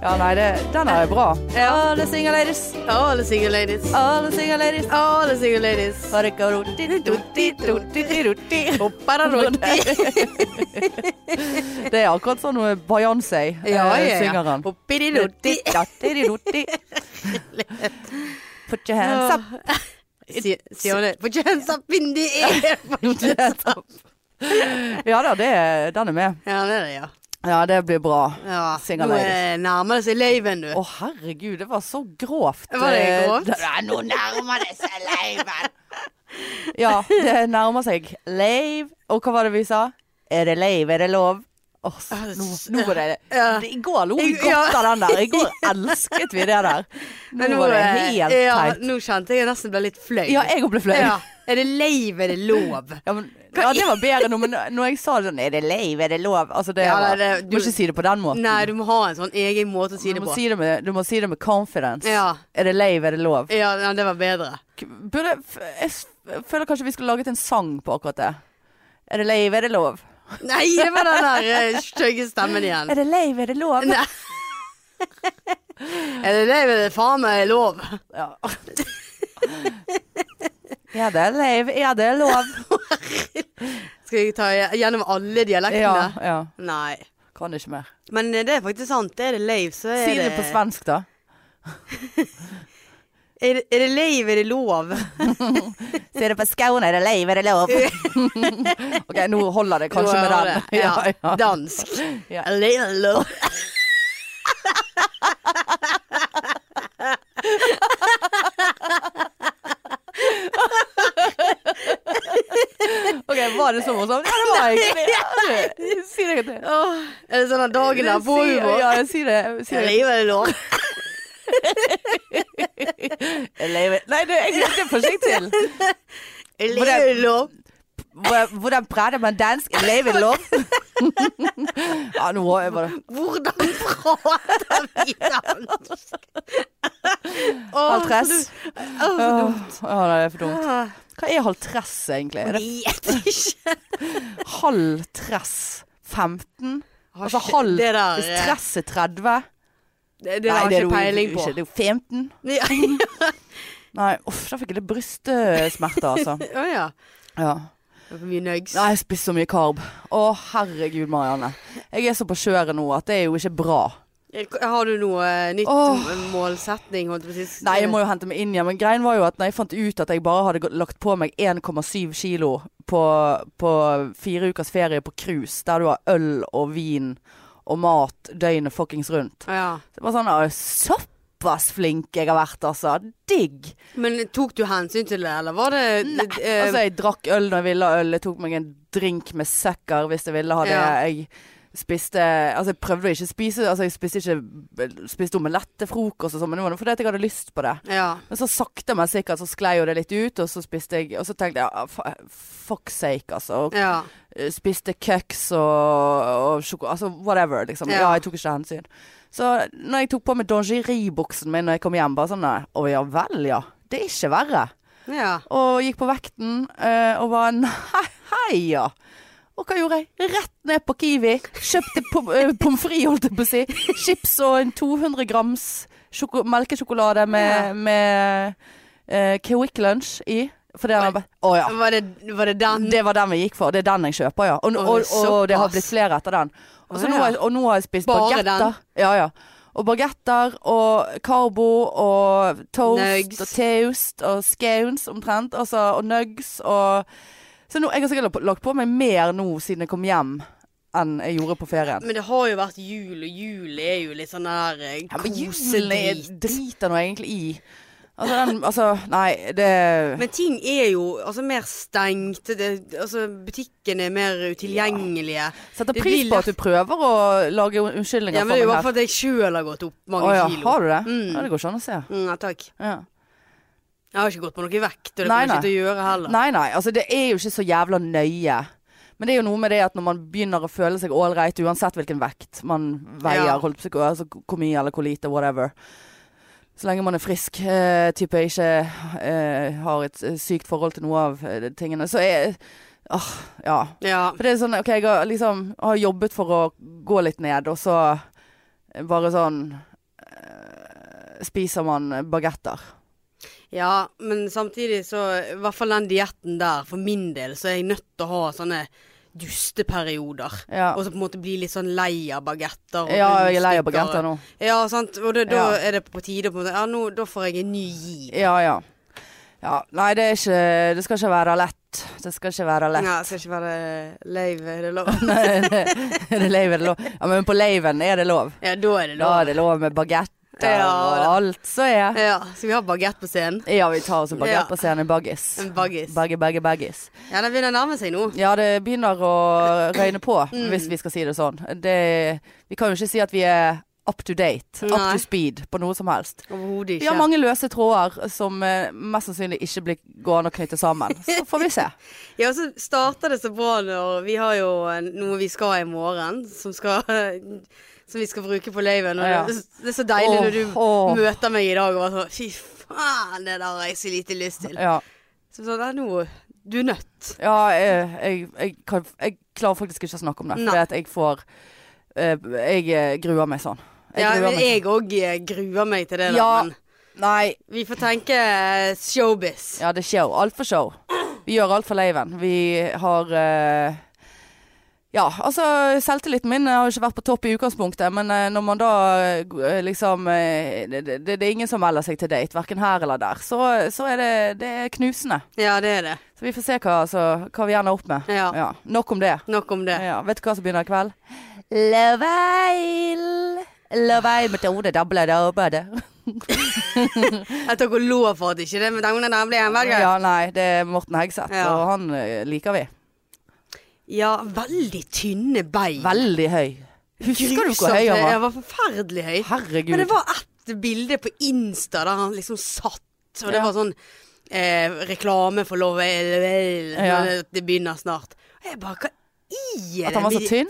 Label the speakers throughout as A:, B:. A: Ja, nei, det, den er bra. Alle single ladies,
B: Alle single ladies.
A: alle single ladies.
B: Alle single ladies.
A: Det er akkurat sånn noe Beyoncé eh,
B: Ja, ja,
A: synger
B: ja.
A: han.
B: Hoppididoti.
A: Put your hands up.
B: Sier sier hun det? Put your hands up in the air. Put your hands up.
A: Ja da, det, den er med.
B: Ja, det er det, ja.
A: Ja, det blir bra.
B: ja.
A: Single
B: Nå
A: ladies.
B: eh, nærmer det seg løyven,
A: Å
B: du.
A: herregud, det var så grovt.
B: Var det
A: Eh,
B: grovt?
A: det- Ja, nå nærmer det seg leiven. ja, det nærmer seg leiv. Og hva var det vi sa? Er det leiv, er det lov? Åh, s- nå, nå var det,
B: Ja.
A: det I går lo vi
B: Jeg- ja.
A: godt av den der. I går elsket vi det der.
B: Men
A: Nå var det
B: eh,
A: helt
B: ja,
A: teit.
B: Nå kjente jeg nesten ble litt flau.
A: Ja, jeg ble flau.
B: Ja. Er det leiv, er det lov?
A: Ja, men, ja, det var bedre nå, men når jeg sa det sånn Er det leiv, er det lov? Altså, det,
B: Ja,
A: var-
B: nei,
A: Du
B: det-
A: må
B: du-
A: ikke si det på den måten.
B: Nei, du må ha en sånn egen måte å si
A: du,
B: det
A: må
B: på.
A: si det med, du må si det med confidence.
B: Ja.
A: Er det leiv, er det lov?
B: Ja, ja, det var bedre.
A: Burde, f- jeg s- føler kanskje vi skulle laget en sang på akkurat det. Er det lave, er det lov?
B: Nei, det var den der eh, stygge stemmen igjen.
A: Er det lave, er det lov?
B: Nei. Er det leiv, er det faen meg lov?
A: Ja. Er det lave, er det lov?
B: Skal jeg ta gje- gjennom alle
A: Ja,
B: dialektene?
A: ja.
B: Nei.
A: Kan ikke mer.
B: Men eh, det er faktisk sant. Er det leiv, så er
A: Si det på svensk, da.
B: Er, det- er det leiv, er det lov?
A: Si det på Skåne, er det lave, er det lov? OK, nå holder det kanskje med
B: Nå
A: den.
B: er det- Ja,
A: ja.
B: Dansk.
A: Ja.
B: Er det leiv, er det lov?
A: OK, var det så morsomt? Ja, det var egentlig ja, du, Si det en gang til.
B: Åh, er det sånn at dagen er på
A: Si-
B: humor?
A: Ja, si det. Si
B: Er det
A: det.
B: leiv, er det lov?
A: Er det lave- Nei, det, jeg det får seg til.
B: Er det
A: Hvor
B: leiv,
A: er-
B: er det lov?
A: Hvor- Hvordan prater man dansk? Lev i lov? ja, nå har jeg bare
B: Hvordan prater vi dansk? Åh,
A: Halv tress.
B: så du- åh,
A: Ja, nei, det er for dumt.
B: Ah,
A: Hva er halv tress, egentlig? Er det
B: Vet ikke.
A: halv tress 15? Altså halv
B: Det der,
A: Hvis
B: eh,
A: tress er 30?
B: Det, det har jeg
A: jo
B: ikke peiling på.
A: ikke. Det er jo 15.
B: Ja,
A: Nei, uff, da fikk jeg litt brystsmerter, altså.
B: Å ja.
A: Ja.
B: Det er for mye nugs.
A: Nei, jeg spiste så mye karb. Å, herregud, Marianne. Jeg er så på kjøret nå at det er jo ikke bra.
B: Har du noe eh, nytt
A: Åh.
B: målsetning? Holdt jeg på å si?
A: Nei, jeg må jo hente meg inn igjen. Men greien var jo at når jeg fant ut at jeg bare hadde gått- lagt på meg 1,7 kilo på, på fire ukers ferie på cruise, der du har øl og vin og mat døgnet fuckings rundt.
B: ja.
A: Så Det var sånn «Å, Såpass flink jeg har vært, altså. Digg.
B: Men tok du hensyn til det, eller var det eh,
A: Altså, jeg drakk øl når jeg ville ha øl. Jeg tok meg en drink med sukker hvis jeg ville ha det.
B: Ja.
A: Jeg spiste Altså, jeg prøvde å ikke spise Altså, jeg spiste ikke eh, Spiste omelett til frokost og sånn, men det var fordi at jeg hadde lyst på det.
B: eh, Ja.
A: Men så sakte, men sikkert så sklei jo det litt ut, og så spiste jeg Og så tenkte jeg ah, fa- fuck sake, altså. Og
B: ja.
A: eh, spiste kjeks og, og sjokolade Altså whatever, liksom.
B: Ja.
A: Ja. jeg tok ikke hensyn. Så når jeg tok på meg dongeribuksen min når jeg kom hjem, bare sånn nei, Å ja vel, ja. Det er ikke verre.
B: Ja.
A: Og gikk på vekten eh, og var nei, heia. Og hva gjorde jeg? Rett ned på Kiwi. Kjøpte pom eh, pommes frites, holdt jeg på å si. Chips og en 200 grams sjoko melkesjokolade med,
B: Ja.
A: med eh, Kiwik Lunch i. For det er Å ja.
B: Var, det, var det den?
A: Det var den vi gikk for. Det er den jeg kjøper, ja. Og,
B: Mm. Oi,
A: og, og, det har
B: såpass.
A: blitt flere etter den. Og, så
B: Å,
A: nå,
B: ja.
A: har jeg, og nå har jeg spist
B: Bare
A: bagetter. Ja, ja. Og bagetter og karbo og toast
B: Nugs.
A: og toast og scones omtrent. Altså, og nugs og Så nå, jeg har sikkert lagt på meg mer nå siden jeg kom hjem enn jeg gjorde på ferien.
B: Men det har jo vært jul, og jul er jo litt sånn der eh,
A: Ja, men julen er
B: kosedrit.
A: driter nå egentlig i. Altså, den, altså Nei, det
B: Men ting er jo altså, mer stengt. Det, altså, butikkene er mer utilgjengelige.
A: Setter
B: det
A: pris
B: blir
A: på
B: lett-
A: at du prøver å lage
B: Ja,
A: unnskyldninger
B: men det er jo
A: for meg
B: bare
A: her.
B: for at jeg sjøl har gått opp mange
A: Å ja,
B: kilo.
A: har du det?
B: Mm.
A: Ja, det går ikke an å se.
B: Mm, ja, takk.
A: Ja.
B: Jeg har ikke gått på noe vekt, og det
A: Nei,
B: kommer jeg ikke til å gjøre heller.
A: Nei, nei, altså det er jo ikke så jævla nøye. Men det er jo noe med det at når man begynner å føle seg ålreit, uansett hvilken vekt man veier,
B: Ja.
A: holdt på å si, altså hvor mye eller hvor lite, whatever. Så lenge man er frisk, eh, type ikke eh, har et eh, sykt forhold til noe av eh, tingene, så er Åh, ja.
B: Ja.
A: For det er sånn, OK, jeg har liksom har jobbet for å gå litt ned, og så eh, bare sånn eh, spiser man bagetter.
B: Ja, men samtidig så I hvert fall den dietten der, for min del, så er jeg nødt til å ha sånne dusteperioder.
A: Ja,
B: Og så på en måte bli litt sånn lei av bagetter.
A: ja jeg er lei av bagetter nå.
B: Ja, sant. Og det, da
A: Ja.
B: er det på tide å på en måte Ja, nå da får jeg en ny giv.
A: Ja, ja. ja nei, det, er ikke, det skal ikke være lett. Det skal ikke være lett.
B: Ja, jeg skal ikke være leiv, er det lov?
A: Nei, det, det er leiv, er det lov? Ja, men på leiven er det lov.
B: Ja, da er det
A: Da
B: lov.
A: er det lov med bagetter
B: Ja,
A: og
B: da.
A: alt som er.
B: Ja, skal vi ha bagett på scenen?
A: Ja, vi tar oss en bagett
B: Ja.
A: på scenen. Baggis.
B: En baggis.
A: Bagge, bagge, baggis.
B: Ja, den begynner å nærme seg nå.
A: Ja, det begynner å røyne på,
B: Mm.
A: hvis vi skal si det sånn. Det, vi kan jo ikke si at vi er up to date, up
B: Nei.
A: to speed på noe som helst.
B: Overhodet
A: Vi har
B: ikke.
A: mange løse tråder som eh, mest sannsynlig ikke blir gående å knytte sammen. Så får vi se.
B: Ja, og så starter det så bra når Vi har jo en- noe vi skal i morgen, som, skal, som vi skal bruke på laven. Og
A: Ja.
B: det, det er så deilig når du
A: Åh, åh.
B: møter meg i dag og bare sånn Fy faen, det der har jeg så lite lyst til.
A: Ja,
B: Så sånn, ja, nå Du er nødt.
A: ja jeg, jeg, jeg, kan, jeg klarer faktisk ikke å snakke om det,
B: Nei.
A: fordi at jeg får eh, Jeg eh, gruer meg sånn. Jeg
B: Ja,
A: gruer
B: men
A: meg.
B: jeg òg gruer meg til det.
A: Ja.
B: Da, men
A: Nei.
B: vi får tenke eh, showbiz.
A: Ja, det er show. Alt for show. Vi gjør alt for leiven. Vi har eh, Ja, altså selvtilliten min har jo ikke vært på topp i utgangspunktet, men eh, når man da eh, g- eh, liksom eh, det, det, det er ingen som melder seg til date, verken her eller der. Så, så er det, det er knusende.
B: Ja, det er det.
A: Så vi får se hva, altså, hva vi ender opp med.
B: Ja.
A: Nok om det.
B: Nok om det.
A: Ja, vet du hva som begynner i kveld? Love Isle. Love Isle-metode. Dabla, dabla, da.
B: Jeg tar ikke lov for at ikke det med denne der blir en velger. Ja.
A: Ja, nei, det er Morten Hegseth,
B: Ja.
A: og han eh, liker vi.
B: veldig tynne bein.
A: Veldig høy. Husker du hvor
B: Grusomt.
A: høy han var?
B: Jeg var forferdelig høy.
A: Herregud.
B: Men det var ett bilde på Insta der han liksom satt, og det
A: Ja.
B: var sånn eh, reklame for Love Island,
A: Ja.
B: det- det begynner snart. Og jeg bare, hva i er det?
A: At han var så
B: med de-
A: tynn?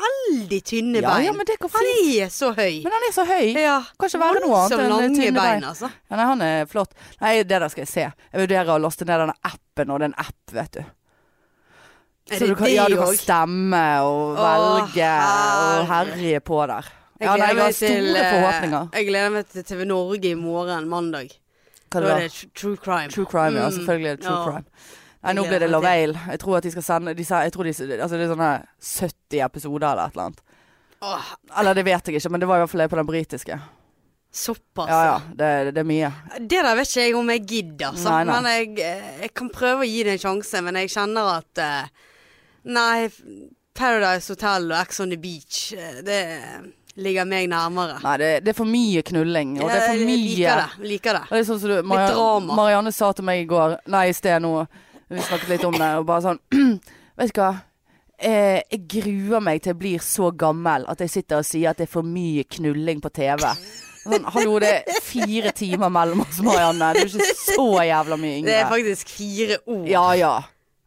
B: Veldig tynne
A: Ja,
B: bein.
A: ja, men det går
B: han
A: fint.
B: er så høy.
A: Men han er så høy.
B: ja.
A: Kan ikke være noe annet
B: Voldsomt
A: enn
B: lange
A: tynne bein.
B: altså.
A: Ja, nei, han er flott. Nei, det der skal jeg se. Jeg vurderer å laste ned denne appen, og det er en app, vet du.
B: Er
A: Så
B: det
A: du kan, ja,
B: det
A: du kan
B: også?
A: stemme og velge og
B: herre.
A: herje på der.
B: Jeg
A: Ja, nei,
B: gleder
A: jeg har
B: meg til,
A: store
B: eh,
A: forhåpninger.
B: Jeg gleder meg til TV Norge i morgen, mandag.
A: Hva
B: da
A: det
B: er
A: var?
B: det tr- True Crime.
A: True crime, ja.
B: Mm,
A: Selvfølgelig er det true
B: ja.
A: crime. Nei, nå
B: Jeg
A: blir det
B: gleder
A: Love
B: meg
A: Isle. Jeg tror at de skal sende de, sa- jeg tror de, Altså, det er sånne 70 episoder eller et eller annet.
B: Åh,
A: Eller det vet jeg ikke, men det var i hvert fall det på den britiske.
B: såpass.
A: Ja ja, det, det er mye.
B: Det der vet ikke jeg om jeg gidder, altså.
A: Nei, nei.
B: Men jeg, eh, jeg kan prøve å gi det en sjanse, men jeg kjenner at eh, Nei, f- Paradise Hotel og Ex on the Beach, eh, det ligger meg nærmere.
A: Nei, det, det er for mye knulling, og det er for mye
B: Jeg liker det. Liker det.
A: Og Det er sånn som du,
B: Litt drama.
A: Marianne sa til meg i går Nei, i sted nå Vi snakket litt om det Og bare sånn Vet du hva? Eh, jeg gruer meg til jeg blir så gammel At jeg sitter og sier at det er for mye knulling på TV Sånn, hallo, det er fire timer mellom oss, Marianne Du er ikke så jævla mye
B: Det er
A: yngre
B: faktisk fire ord.
A: Ja, ja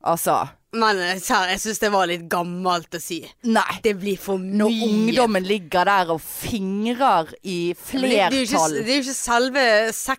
A: Altså
B: Men eh, serr, jeg syns det var litt gammelt å si.
A: Nei
B: Det blir for mye.
A: Når ungdommen ligger der og fingrer i
B: Men det, det, er jo ikke,
A: flertall
B: det er jo ikke selve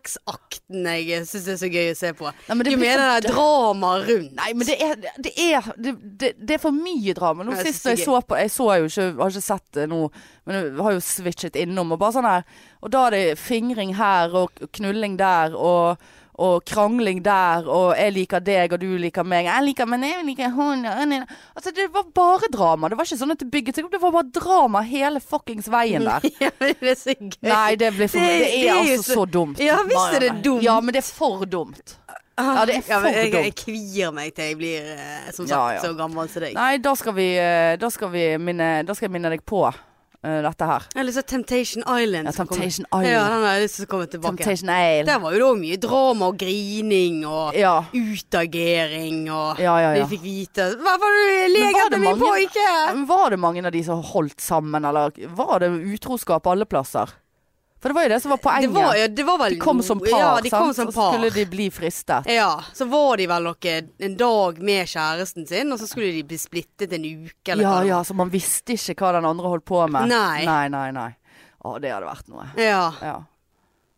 B: sexakten jeg syns er så gøy å se på.
A: Nei, men det
B: det jo
A: blir for
B: mer det der dramaet rundt.
A: Nei, men det er Det er, det, det, det er for mye drama. Nå
B: Jeg synes
A: sist jeg
B: ikke-
A: så på Jeg så jo ikke, har ikke sett det nå, men jeg har jo switchet innom. Og bare sånn her Og da er det fingring her og knulling der og og krangling der, og jeg liker deg, og du liker meg. Jeg liker men jeg liker hun og hun- Altså, det var bare drama. Det var ikke sånn at det bygget seg opp. Det var bare drama hele fuckings veien der.
B: Ja, men det er så gøy.
A: Nei, det blir for
B: Det-
A: Det,
B: det
A: er
B: er jo
A: altså så,
B: så-
A: dumt.
B: Ja, visst er det
A: Marianne.
B: dumt.
A: Ja, men det er for dumt. Ja, det er for
B: men jeg,
A: dumt.
B: Jeg kvier meg til jeg blir eh, som sagt
A: Ja, ja.
B: så gammel som deg.
A: Nei, da skal vi, eh, da skal vi minne, da skal jeg minne deg på eh, dette her.
B: Jeg har lyst til at Temptation Island
A: Ja,
B: skal komme-
A: Temptation
B: Ja,
A: Island.
B: den har jeg lyst til å komme tilbake.
A: Temptation Ale.
B: Der var jo da mye drama og grining og
A: Ja.
B: utagering og
A: Ja, ja, ja.
B: Vi fikk vite Hva var det
A: Men var
B: du
A: det
B: leker til min
A: mange-
B: pojke?
A: Men Var det mange av de som holdt sammen, eller var det utroskap alle plasser? For det var jo det som var
B: Det
A: poenget.
B: var, ja, det var vel
A: De kom som par,
B: Ja, de kom
A: sant?
B: som
A: og så
B: par.
A: skulle de bli fristet.
B: Ja, så var de vel noe en dag med kjæresten sin, og så skulle de bli splittet en uke eller
A: Ja,
B: hva det
A: ja,
B: var.
A: så man visste ikke hva den andre holdt på med.
B: Nei.
A: Nei, nei, nei. Å, det hadde vært noe.
B: Ja.
A: Ja.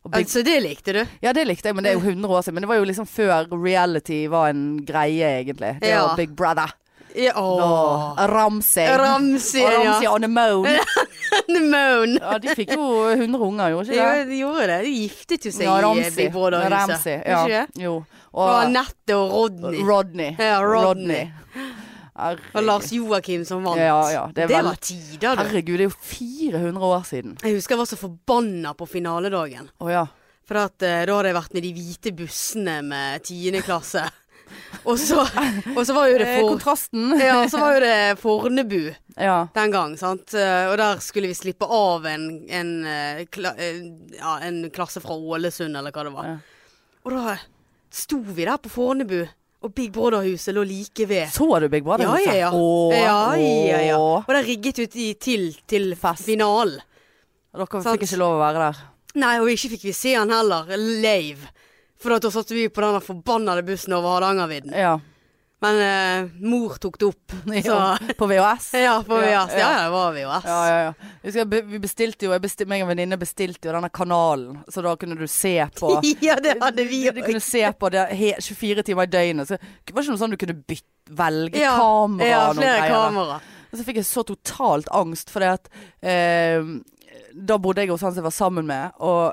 A: Og Big
B: Altså, det likte du?
A: Ja, det likte jeg, men det er jo 100 år siden. Men det var jo liksom før reality var en greie, egentlig. Det
B: Ja.
A: var Big Brother
B: Ja,
A: og
B: åh.
A: Ramsay.
B: Ramsay,
A: og
B: ja.
A: Ramsay on the moon.
B: Moan.
A: Ja, de fikk jo 100 unger, gjorde
B: De
A: ikke det?
B: gjorde- gjorde det. De giftet jo seg
A: Ja,
B: i eh, Big Brother-huset.
A: Ramsey,
B: Gjorde ikke
A: ja.
B: det?
A: Jo.
B: Det var
A: Og
B: Anette og Rodney.
A: Rodney.
B: Ja, Rodney.
A: Herregud.
B: Og Lars Joakim som vant.
A: Ja, ja, det
B: det
A: er vel-
B: var tider, du.
A: Herregud, det er jo 400 år siden.
B: Jeg husker jeg var så forbanna på finaledagen.
A: Å ja.
B: For at, eh, da hadde jeg vært med de hvite bussene med tiende klasse. Og så, og så var jo det
A: Eh,
B: for...
A: kontrasten.
B: Ja, så var jo det Fornebu
A: Ja.
B: den gang, sant. Eh, Og der skulle vi slippe av en, en, eh, kla, eh, ja, en klasse fra Ålesund, eller hva det var.
A: Ja.
B: Og da sto vi der på Fornebu, og Big Brother-huset lå like ved.
A: Så liksom- du Big Brother?
B: Ja, ja, ja.
A: Å,
B: ja, ja, ja.
A: å.
B: Og det rigget ut i, til, til
A: Fest.
B: finalen.
A: Dere fikk
B: Sant.
A: ikke lov å være der.
B: Nei, og ikke fikk vi se han heller, live. For at da satt vi på den forbannede bussen over Hardangervidda.
A: Ja.
B: Men eh, mor tok det opp, så
A: På VHS.
B: Ja, på
A: Ja,
B: VHS. Ja, ja, det var VHS.
A: Ja, ja, ja. Jeg husker jeg be- vi bestilte jo, jeg bestil, meg og en venninne bestilte jo denne kanalen, så da kunne du se på
B: Ja, det hadde vi
A: Du kunne
B: òg.
A: se på det he, 24 timer i døgnet. Så det var ikke noe sånn du kunne bytte, velge
B: Ja,
A: kamera
B: ja,
A: og noen
B: flere
A: greier. der.
B: kamera.
A: Og så fikk jeg så totalt angst, fordi at eh, da bodde jeg hos han som jeg var sammen med, og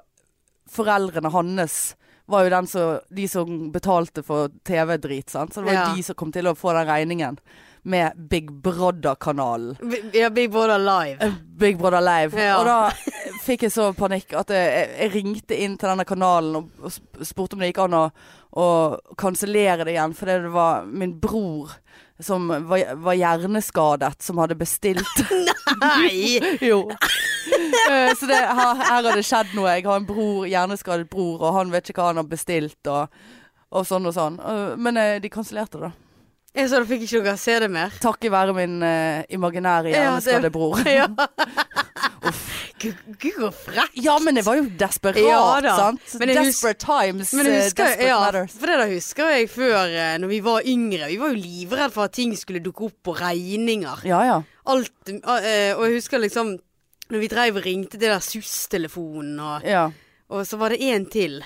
A: foreldrene hans var jo den som, de som betalte for TV-drit, sant? så det var jo
B: Ja.
A: de som kom til å få den regningen med Big Brother-kanalen.
B: Vi- Ja, Big Brother live.
A: Big Brother Live.
B: Ja.
A: Og da fikk jeg så panikk at jeg, jeg- jeg ringte inn til denne kanalen og, og sp- spurte om det gikk an å, å kansellere det igjen, fordi det var min bror som var, var hjerneskadet, som hadde bestilt
B: Nei!
A: Jo. Eh, Så det, her, her har det skjedd noe. Jeg har en bror, hjerneskadet bror, og han vet ikke hva han har bestilt, og, og sånn og sånn. Eh, Men eh, de kansellerte det, da.
B: Jeg så da fikk ikke dere se det mer.
A: Takket være min eh, imaginære
B: Ja, det-
A: hjerneskadde bror.
B: Ja. Gud, gud, så frekk.
A: Ja, men det var jo desperat,
B: Ja da.
A: sant?
B: Men jeg hus-
A: Desperate times,
B: Men jeg
A: eh,
B: husker,
A: desperate
B: ja,
A: matters.
B: for det da husker jeg før, eh, når vi var yngre, vi var jo livredd for at ting skulle dukke opp på regninger.
A: Ja, ja.
B: Alt, eh, og jeg husker liksom, når vi drev og ringte til der SUS-telefonen, og,
A: ja.
B: og så var det en til.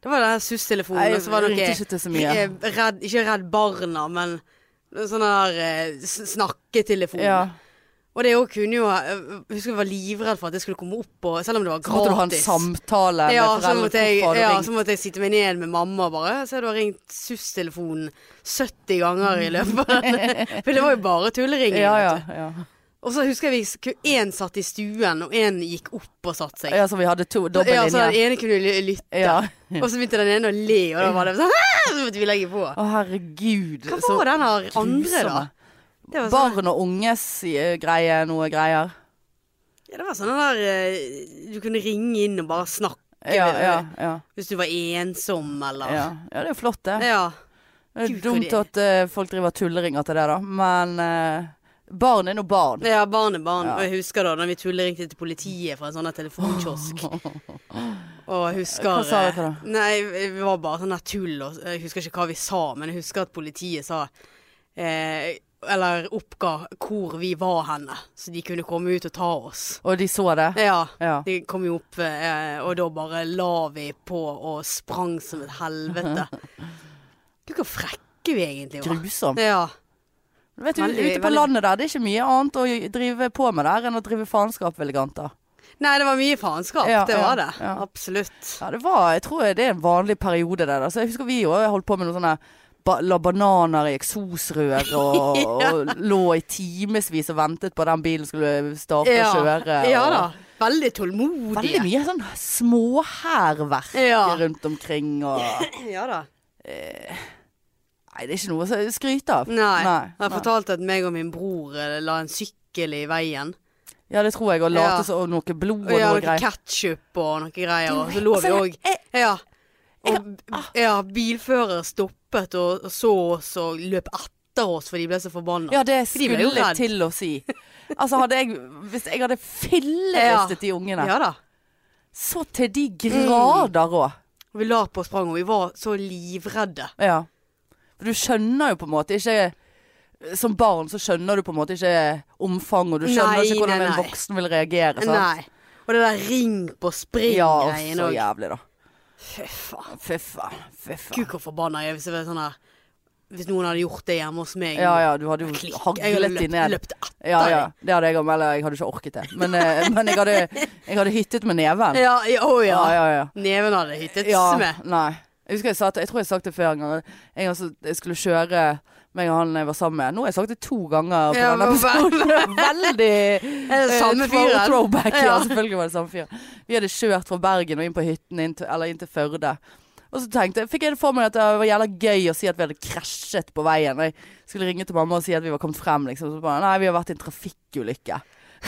B: Det var den
A: Nei,
B: SUS-telefonen, og
A: Jeg
B: så var det
A: ringte
B: noe,
A: ikke til så mye.
B: eh, redd, ikke redd barna, men sånn der eh, s- snakketelefon.
A: Ja.
B: Og det også kunne jo, jeg husker jeg var livredd for at det skulle komme opp, og, selv om det var
A: Så måtte du ha en
B: Oh, gratis.
A: samtale
B: Ja,
A: med
B: så måtte, jeg,
A: foreldre.
B: ja så måtte jeg sitte meg ned med mamma og bare Se, du har ringt SUS-telefonen 70 ganger i løpet av den. For det var jo bare tulleringing.
A: ja, ja,
B: vet du.
A: ja.
B: Og så husker jeg vi én satt i stuen, og én gikk opp og satte seg.
A: ja, så vi hadde to dobbel
B: Ja, så den
A: linje.
B: ene kunne ly- lytte.
A: Ja.
B: Og så begynte den ene å le, og da var det sånn «Hæ!» Så måtte vi legge på.
A: Å, herregud.
B: Hva
A: så
B: var den her andre, da?
A: grusomme.
B: Det var sånn,
A: Barn og unges eh, greie, noe greier.
B: ja, det var sånn der eh, Du kunne ringe inn og bare snakke
A: Ja,
B: med-
A: ja, ja.
B: hvis du var ensom, eller
A: ja. ja det er jo flott, det.
B: Ja.
A: Det er
B: Gud, hvor
A: dumt
B: de-
A: at eh, folk driver tulleringer til det, da. Men eh, barn er nå barn.
B: Ja, barnebarn.
A: Ja.
B: Og jeg husker da når vi tulleringte til politiet fra en sånn her telefonkiosk. Og jeg husker eh,
A: Hva sa dere da?
B: Nei, vi var bare sånn her tull. Og jeg husker ikke hva vi sa, men jeg husker at politiet sa eh, Eller oppga hvor vi var henne, så de kunne komme ut og ta oss.
A: Og de så det.
B: Ja.
A: Ja.
B: De kom jo opp, eh, og da bare la vi på og sprang som et helvete. Gud, hvor frekke vi egentlig var.
A: Grusomt.
B: Ja.
A: Vet du,
B: Veldig-
A: ute på
B: veldig-
A: landet der, det er ikke mye annet å drive på med der enn å drive faenskap eleganter.
B: Nei, det var mye faenskap.
A: Ja,
B: det
A: ja,
B: var det.
A: ja.
B: Absolutt.
A: Ja, det var, jeg tror det er en vanlig periode det der. Så jeg husker vi jo holdt på med noen sånne ba la bananer i eksosrør og, og lå i timevis og ventet på at den bilen skulle starte å kjøre.
B: Ja
A: og-
B: da. Veldig tålmodige.
A: Veldig mye sånn småhærverk
B: Ja.
A: rundt omkring og
B: Ja da.
A: Nei, det er ikke noe å skryte av.
B: Nei.
A: Nei,
B: Jeg
A: nei.
B: fortalte at meg og min bror eh, la en sykkel i veien.
A: Ja, det tror jeg. Og late
B: Ja.
A: som noe blod og
B: Og ja,
A: noe
B: noe
A: greier.
B: ketsjup og noe greier. Og så
A: helt-
B: lå vi
A: altså,
B: òg
A: jeg- Ah.
B: Ja. Og b- ja, bilførere stoppet og og så oss og løp etter oss, for de ble så forbanna.
A: Ja, det
B: de ble
A: skulle
B: jo
A: jeg
B: redd.
A: til å si. Altså, hadde jeg, hvis jeg hadde filleristet de ungene,
B: Ja Mm. da.
A: så til de grader òg.
B: Og vi la på og sprang, og vi var så livredde.
A: Ja. For du skjønner jo på en måte ikke Som barn så skjønner du på en måte ikke omfanget, og du skjønner
B: Nei,
A: ikke hvordan
B: nei,
A: en
B: nei.
A: voksen vil reagere. Sant?
B: Nei. Og det der ring
A: Ja,
B: på
A: og
B: spring-greiene
A: så
B: òg.
A: jævlig, da.
B: Fy faen.
A: Fy faen. Fy faen.
B: Gud, hvor forbanna jeg er hvis jeg var sånn her Hvis noen hadde gjort det hjemme hos meg
A: Ja ja, du hadde jo
B: Klikk. Jeg hadde
A: haglet de
B: løpt,
A: ned.
B: løpt etter.
A: Ja ja, det hadde jeg òg, eller jeg hadde ikke orket det. Men, eh, men jeg, hadde, jeg hadde hyttet med neven.
B: Ja, ja, å ja.
A: ja, ja. ja.
B: Neven hadde hyttet
A: Ja,
B: med.
A: nei. Jeg husker jeg sa det, jeg tror jeg har sagt det før en gang. Jeg, altså, jeg skulle kjøre meg og han jeg var sammen med. Nå har jeg sagt det to ganger. På
B: Ja,
A: denne
B: men hva-
A: episoden. Veldig
B: Er det samme
A: Eh, throw-
B: fyren?
A: Throwback, ja.
B: Ja.
A: Selvfølgelig var det samme fyren. Vi hadde kjørt fra Bergen og inn på hytten, inn til, eller inn til Førde. Og så tenkte jeg, fikk jeg det for meg at det var jævla gøy å si at vi hadde krasjet på veien. Og jeg skulle ringe til mamma og si at vi var kommet frem, liksom. Så bare, nei, vi har vært i en trafikkulykke.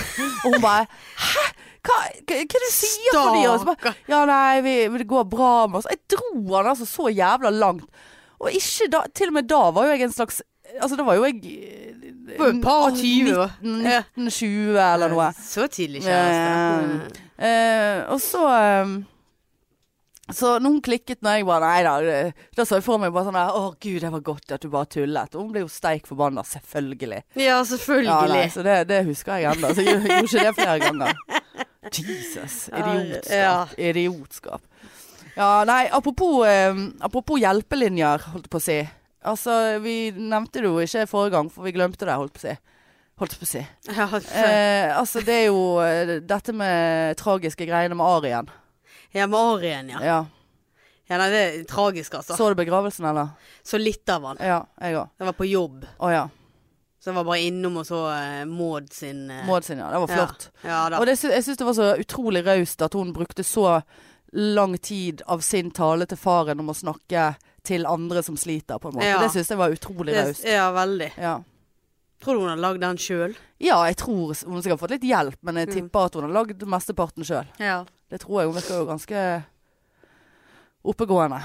A: Og hun bare, hæ? Hva, hva, hva er det du sier for de? Og så bare,
B: Stakkar.
A: ja, nei, vi, det går bra med oss. Jeg dro han altså så jævla langt. Og ikke da, til og med da var jo jeg en slags, altså da var jo jeg...
B: Det var jo et par 20 år. Eh,
A: 1920 eller noe.
B: Så tidlig
A: Ja, ja,
B: kjæreste.
A: Eh, og så eh, Så noen klikket når jeg bare Nei da. det- Da så jeg for meg bare sånn der, Å gud, det var godt at du bare tullet. Og hun ble jo steik forbanna. Selvfølgelig.
B: Ja,
A: Ja,
B: selvfølgelig.
A: nei, så det, det husker jeg ennå. Så jeg gjorde ikke det flere ganger. Jesus. Idiotskap.
B: Ja.
A: Idiotskap. Ja, nei, apropos, eh, apropos hjelpelinjer, holdt jeg på å si. Altså, vi nevnte det jo ikke forrige gang, for vi glemte det, holdt på å si. Holdt på å si.
B: Ja, for-
A: Eh, altså, det er jo eh, dette med tragiske greiene med Arien.
B: ja, med Arien, ja.
A: Ja.
B: ja nei, det er tragisk, altså. Så,
A: Så du begravelsen, eller?
B: litt av han.
A: Ja, jeg òg.
B: Jeg var på jobb,
A: Å ja.
B: så jeg var bare innom og så eh, Maud sin eh,
A: Maud sin, ja. Det var flott.
B: Ja, ja da.
A: Og det, sy- jeg syns det var så utrolig raust at hun brukte så lang tid av sin tale til faren om å snakke til andre som sliter, på en måte.
B: Ja.
A: Det syns jeg var utrolig raust.
B: Det- ja, veldig.
A: Ja.
B: Tror du hun har lagd den sjøl?
A: ja, jeg tror s- hun sikkert har fått litt hjelp, men jeg
B: Mm.
A: tipper at hun har lagd mesteparten sjøl.
B: Ja.
A: Det tror jeg. Hun virker jo ganske oppegående.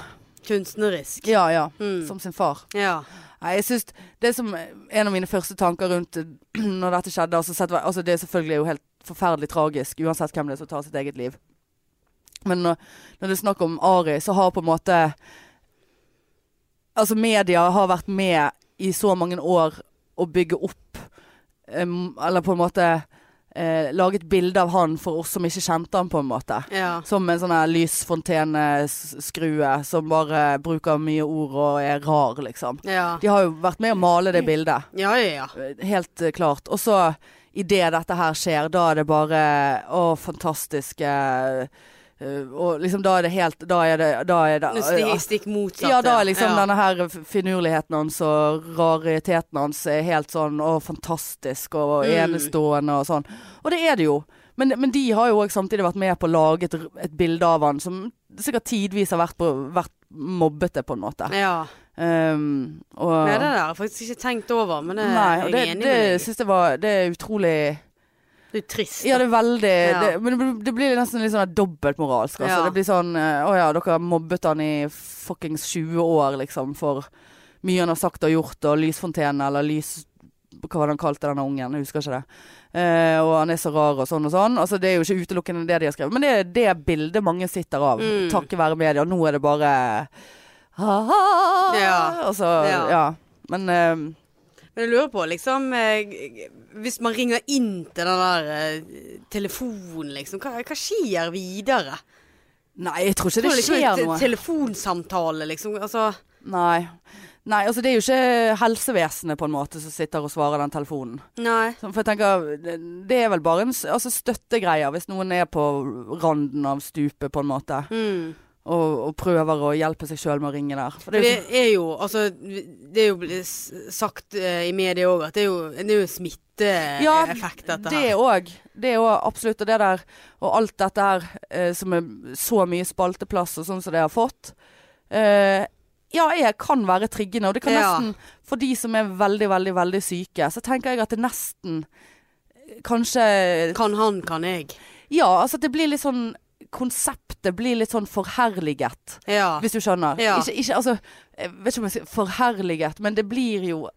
B: Kunstnerisk.
A: Ja, ja.
B: Mm.
A: Som sin far.
B: Ja.
A: Nei, jeg synes det som En av mine første tanker rundt eh, når dette skjedde altså, sett, hva- altså Det er selvfølgelig jo helt forferdelig tragisk, uansett hvem det er som tar sitt eget liv. Men når, når det er snakk om Ari, så har på en måte Altså, media har vært med i så mange år å bygge opp em, Eller på en måte eh, laget bilde av han for oss som ikke kjente han, på en måte.
B: Ja.
A: Som en sånn her lysfonteneskrue som bare bruker mye ord og er rar, liksom.
B: Ja.
A: De har jo vært med å male det bildet.
B: Ja, ja, ja.
A: Helt eh, klart. Og så idet dette her skjer, da er det bare Å, fantastiske eh, Og liksom da er det helt Da er det, da er det eh,
B: Nå stikk, stikk motsatt.
A: ja, da er liksom
B: ja.
A: denne her f- finurligheten hans og rariteten hans er helt sånn å, fantastisk og, og
B: Mm.
A: enestående og sånn. Og det er det jo. Men, men de har jo òg samtidig vært med på å lage et, r- et bilde av han som sikkert tidvis har vært, på, vært mobbete, på en måte.
B: Ja.
A: Um, og,
B: Nei, det der har jeg faktisk ikke tenkt over, men det,
A: Nei, og
B: jeg
A: det,
B: er enig
A: det
B: med deg.
A: syns jeg var Det er utrolig
B: Det er jo trist.
A: Ja, det er veldig
B: Ja.
A: det, Men det blir- det blir nesten litt sånn dobbeltmoralsk. Altså.
B: Ja.
A: Det blir sånn eh, Å ja, dere mobbet han i fuckings 20 år, liksom, for mye han har sagt og gjort, og lysfontene eller lys... Hva var det han kalte denne ungen? Jeg husker ikke det. Eh, og han er så rar og sånn og sånn. Altså, det er jo ikke utelukkende det de har skrevet, men det er det bildet mange sitter av.
B: Mm.
A: Takket være media. Nå er det bare ha-ha.
B: Ja.
A: Altså, ja.
B: Ja.
A: Men eh,
B: Men jeg lurer på, liksom eh, Hvis man ringer inn til den der eh, telefonen, liksom, hva, hva skjer videre?
A: Nei, jeg tror ikke det
B: Tror du liksom en
A: skjer
B: te-
A: noe.
B: Telefonsamtale, liksom. Altså
A: Nei. Nei, altså det er jo ikke helsevesenet på en måte som sitter og svarer den telefonen.
B: Nei.
A: Så- For jeg tenker, det- det er vel bare en s- altså, støttegreie hvis noen er på randen av stupet på en måte.
B: Mm.
A: Og, og prøver å hjelpe seg sjøl med å ringe der. For det er
B: Det
A: jo ikke,
B: er jo Altså, det er jo bl- s- sagt eh, i media òg at det er jo, det er jo en
A: Ja,
B: smitteeffekt, dette
A: det
B: her.
A: òg. Det òg, absolutt. Og det der, og alt dette her eh, som er så mye spalteplass og sånn som det har fått. Eh, ja, jeg kan være triggende. Og det kan
B: Ja.
A: nesten, for de som er veldig, veldig, veldig syke, så tenker jeg at det nesten eh, Kanskje
B: Kan han, kan jeg.
A: Ja, altså det blir litt sånn Konseptet blir litt sånn forherliget,
B: Ja.
A: hvis du skjønner.
B: Ja.
A: Ikke, ikke, altså, jeg vet ikke om jeg sier forherliget, men det blir jo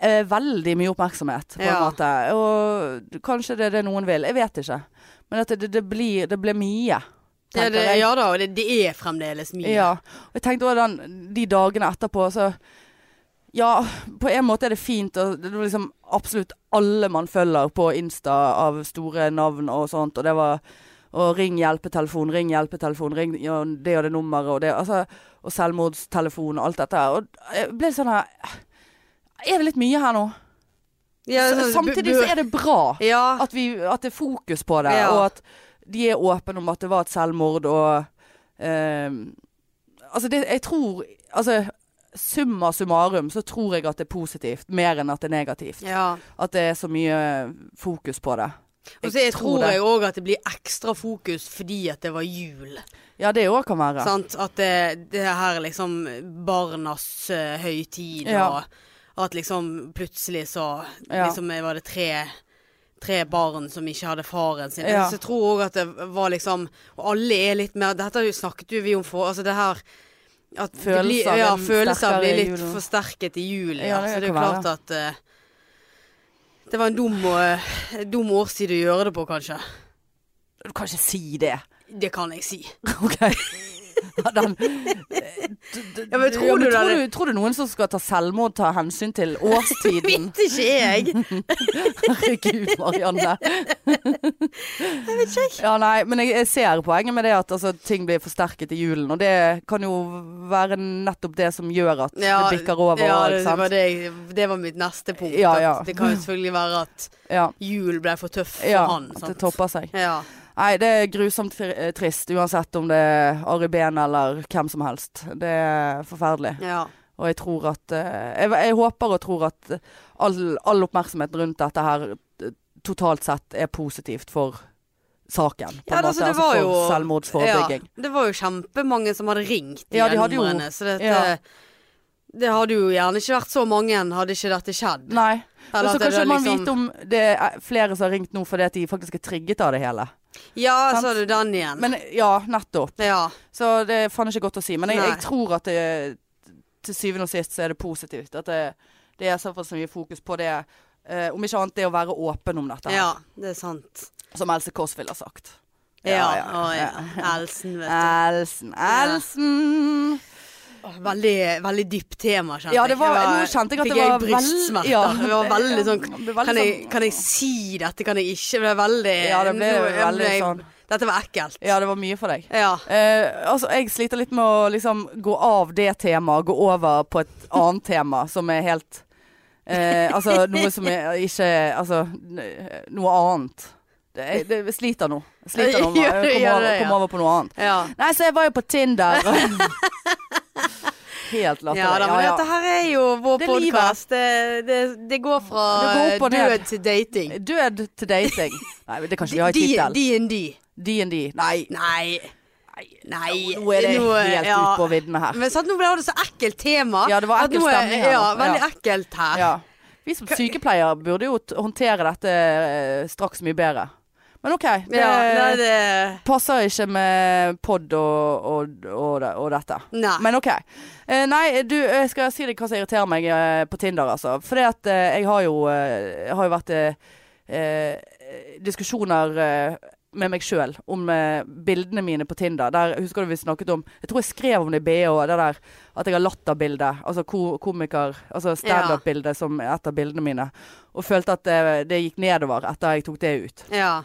A: eh, veldig mye oppmerksomhet, på en
B: Ja.
A: måte. Og kanskje det er det noen vil. Jeg vet ikke. Men at det, det, blir, det blir mye.
B: Det,
A: tenker
B: det,
A: jeg.
B: ja da, og det, det er fremdeles mye.
A: Ja. Og jeg tenkte også den, de dagene etterpå, så Ja, på en måte er det fint. Og det var liksom absolutt alle man følger på Insta av store navn og sånt, og det var og ring hjelpetelefon, ring hjelpetelefon, ring ja, det og det nummeret og det. Altså, og selvmordstelefon og alt dette her. Og jeg ble sånn her Er det litt mye her nå?
B: altså,
A: S- Samtidig så er Altså, det bra
B: Ja.
A: at, vi, at det er fokus på det,
B: Ja.
A: og at de er åpne om at det var et selvmord og eh, Altså, det, jeg tror Altså, summa summarum så tror jeg at det er positivt, mer enn at det er negativt.
B: ja.
A: At det er så mye fokus på det.
B: Og så jeg tror jeg òg at det blir ekstra fokus fordi at det var jul.
A: Ja, det òg kan være.
B: Sant? At det, det her er liksom barnas eh, høytid,
A: Ja.
B: og at liksom plutselig så
A: Ja.
B: liksom, eh, var det tre, tre barn som ikke hadde faren sin.
A: Ja.
B: Så jeg tror òg at det var liksom Og alle er litt mer Dette har jo snakket jo vi om for Altså det her at det
A: Følelser
B: blir,
A: er
B: ja,
A: litt
B: følelser
A: sterkere
B: blir
A: i
B: litt
A: julen.
B: forsterket i jul. Ja,
A: Ja, det
B: så det er jo
A: kan være.
B: klart at eh, det var en dum, uh, dum årstid å gjøre det på, kanskje.
A: Du kan ikke si det.
B: Det kan jeg si.
A: OK. Ja, Den,
B: Ja, men tror du det
A: tror,
B: er-
A: du, tror du noen som skal ta selvmord, tar hensyn til årstiden?
B: Vet ikke jeg.
A: Herregud, Marianne. Ja, nei, men jeg, jeg ser poenget med det at altså, ting blir forsterket i julen. Og det kan jo være nettopp det som gjør at
B: Ja,
A: det bikker over.
B: Ja, det,
A: ikke sant?
B: var det, jeg- det var mitt neste punkt.
A: Ja, ja.
B: At det kan jo selvfølgelig være at
A: ja,
B: jul ble for tøff for
A: ja
B: han.
A: at det
B: Sant?
A: topper seg.
B: Ja.
A: Nei, det er grusomt fri- eh, trist, uansett om det er Ari Behn eller hvem som helst. Det er forferdelig.
B: ja.
A: Og jeg tror at eh, Jeg, jeg håper og tror at all, all oppmerksomheten rundt dette her eh, totalt sett er positivt for saken. På
B: Ja,
A: en måte.
B: altså, det var
A: for
B: jo-
A: selvmordsforebygging.
B: Ja, det var jo kjempemange som hadde ringt
A: Ja, de
B: de
A: hadde jo-
B: numrene. Så dette,
A: ja.
B: det hadde jo gjerne ikke vært så mange hadde ikke dette skjedd.
A: Nei.
B: Eller
A: Men så
B: at det
A: kanskje
B: var
A: man
B: liksom-
A: vite om det er flere som har ringt nå fordi at de faktisk er trigget av det hele.
B: Ja,
A: Sant?
B: så er det den igjen.
A: Men ja, nettopp.
B: ja.
A: Så det er faen ikke godt å si. Men jeg,
B: Nei.
A: jeg tror at det, til syvende og sist så er det positivt. At det, det er såpass mye fokus på det. eh, om ikke annet det å være åpen om dette, her.
B: ja, det er sant.
A: som Else Kåss ville ha sagt.
B: Ja, å, ja. Elsen, vet
A: Eh.
B: du.
A: Elsen, Elsen
B: Åh, Veldig, veldig dypt tema, kjente
A: Ja, det var,
B: jeg.
A: nå kjente jeg at
B: fikk
A: det var
B: jeg brystsmerter.
A: ja,
B: det var veldig sånn
A: det ble veldig
B: kan, jeg,
A: sånn-
B: kan jeg si dette? Kan jeg ikke? Det ble veldig
A: Ja, det ble
B: nå- jeg
A: veldig sånn.
B: Dette var ekkelt.
A: Ja, det var mye for deg.
B: Ja.
A: Eh, altså, jeg sliter litt med å liksom gå av det temaet, gå over på et annet tema som er helt eh, Altså noe som er ikke Altså n- noe annet. Det, jeg, det jeg sliter nå. Jeg Sliter nå. med å
B: Gjør det,
A: komme
B: gjør
A: over,
B: det, ja.
A: komme over på noe annet.
B: Ja.
A: Nei, så jeg var jo på Tinder. helt latterlig.
B: Ja, da, men dette her er jo vår
A: Det er
B: podkast. Det, det, det går fra
A: Det går opp og ned.
B: død til dating.
A: Død til dating. Nei, men det kan ikke vi ha i tittel.
B: DND.
A: DND. Nei.
B: Nei. Nei.
A: Nå er det
B: Nå-
A: helt
B: ja.
A: ut på viddene her.
B: Men sant, nå ble det så ekkelt tema.
A: Ja, det var
B: at nå
A: ekkel
B: er-
A: stemning her
B: Ja,
A: nå.
B: veldig
A: Ja.
B: ekkelt her.
A: Ja. Ah, Vi som sykepleiere burde jo t- håndtere dette eh, straks mye bedre. Men OK. Det
B: Ja,
A: eh,
B: nei, det
A: passer ikke med pod og, og, og, det- og dette.
B: Nei.
A: Men OK. Eh, nei, du, jeg skal si deg hva som irriterer meg eh, på Tinder, altså. Fordi at eh, jeg har jo, eh, jeg har jo vært eh, eh, diskusjoner eh, med meg sjøl om eh, bildene mine på Tinder. Der husker du vi snakket om Jeg tror jeg skrev om det i BH, det der at jeg har latterbilde. Altså ko komiker Altså standup-bilde som er et av bildene mine. Og følte at eh, det gikk nedover etter jeg tok det ut.
B: Ja.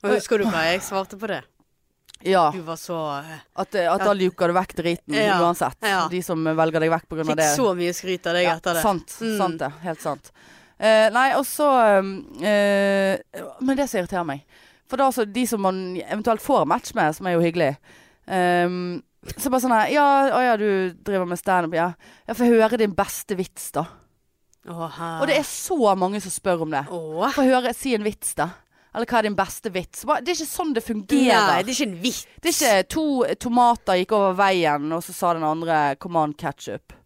B: Og husker du hva jeg svarte på det?
A: Ja.
B: Du var så eh,
A: At, eh, at da luker du vekk driten
B: Ja,
A: uansett.
B: ja.
A: De som velger deg vekk pga. det.
B: Fikk så mye skryt av deg etter det.
A: Sant.
B: Mm.
A: sant det. Helt sant. Eh, nei, og så um, eh, Men det som irriterer meg For da så de som man eventuelt får match med, som er jo hyggelig ehm, Så bare sånn her Ja, å ja, du driver med standup, ja. Jeg får høre din beste vits, da.
B: Å, her.
A: Og det er så mange som spør om det.
B: Å.
A: Få høre Si en vits, da. Eller hva er din beste vits? Hva- Det er ikke sånn det
B: Nei,
A: fungerer.
B: det er ikke en vits.
A: Det er ikke to tomater gikk over veien, og så sa den andre 'come on, ketchup'.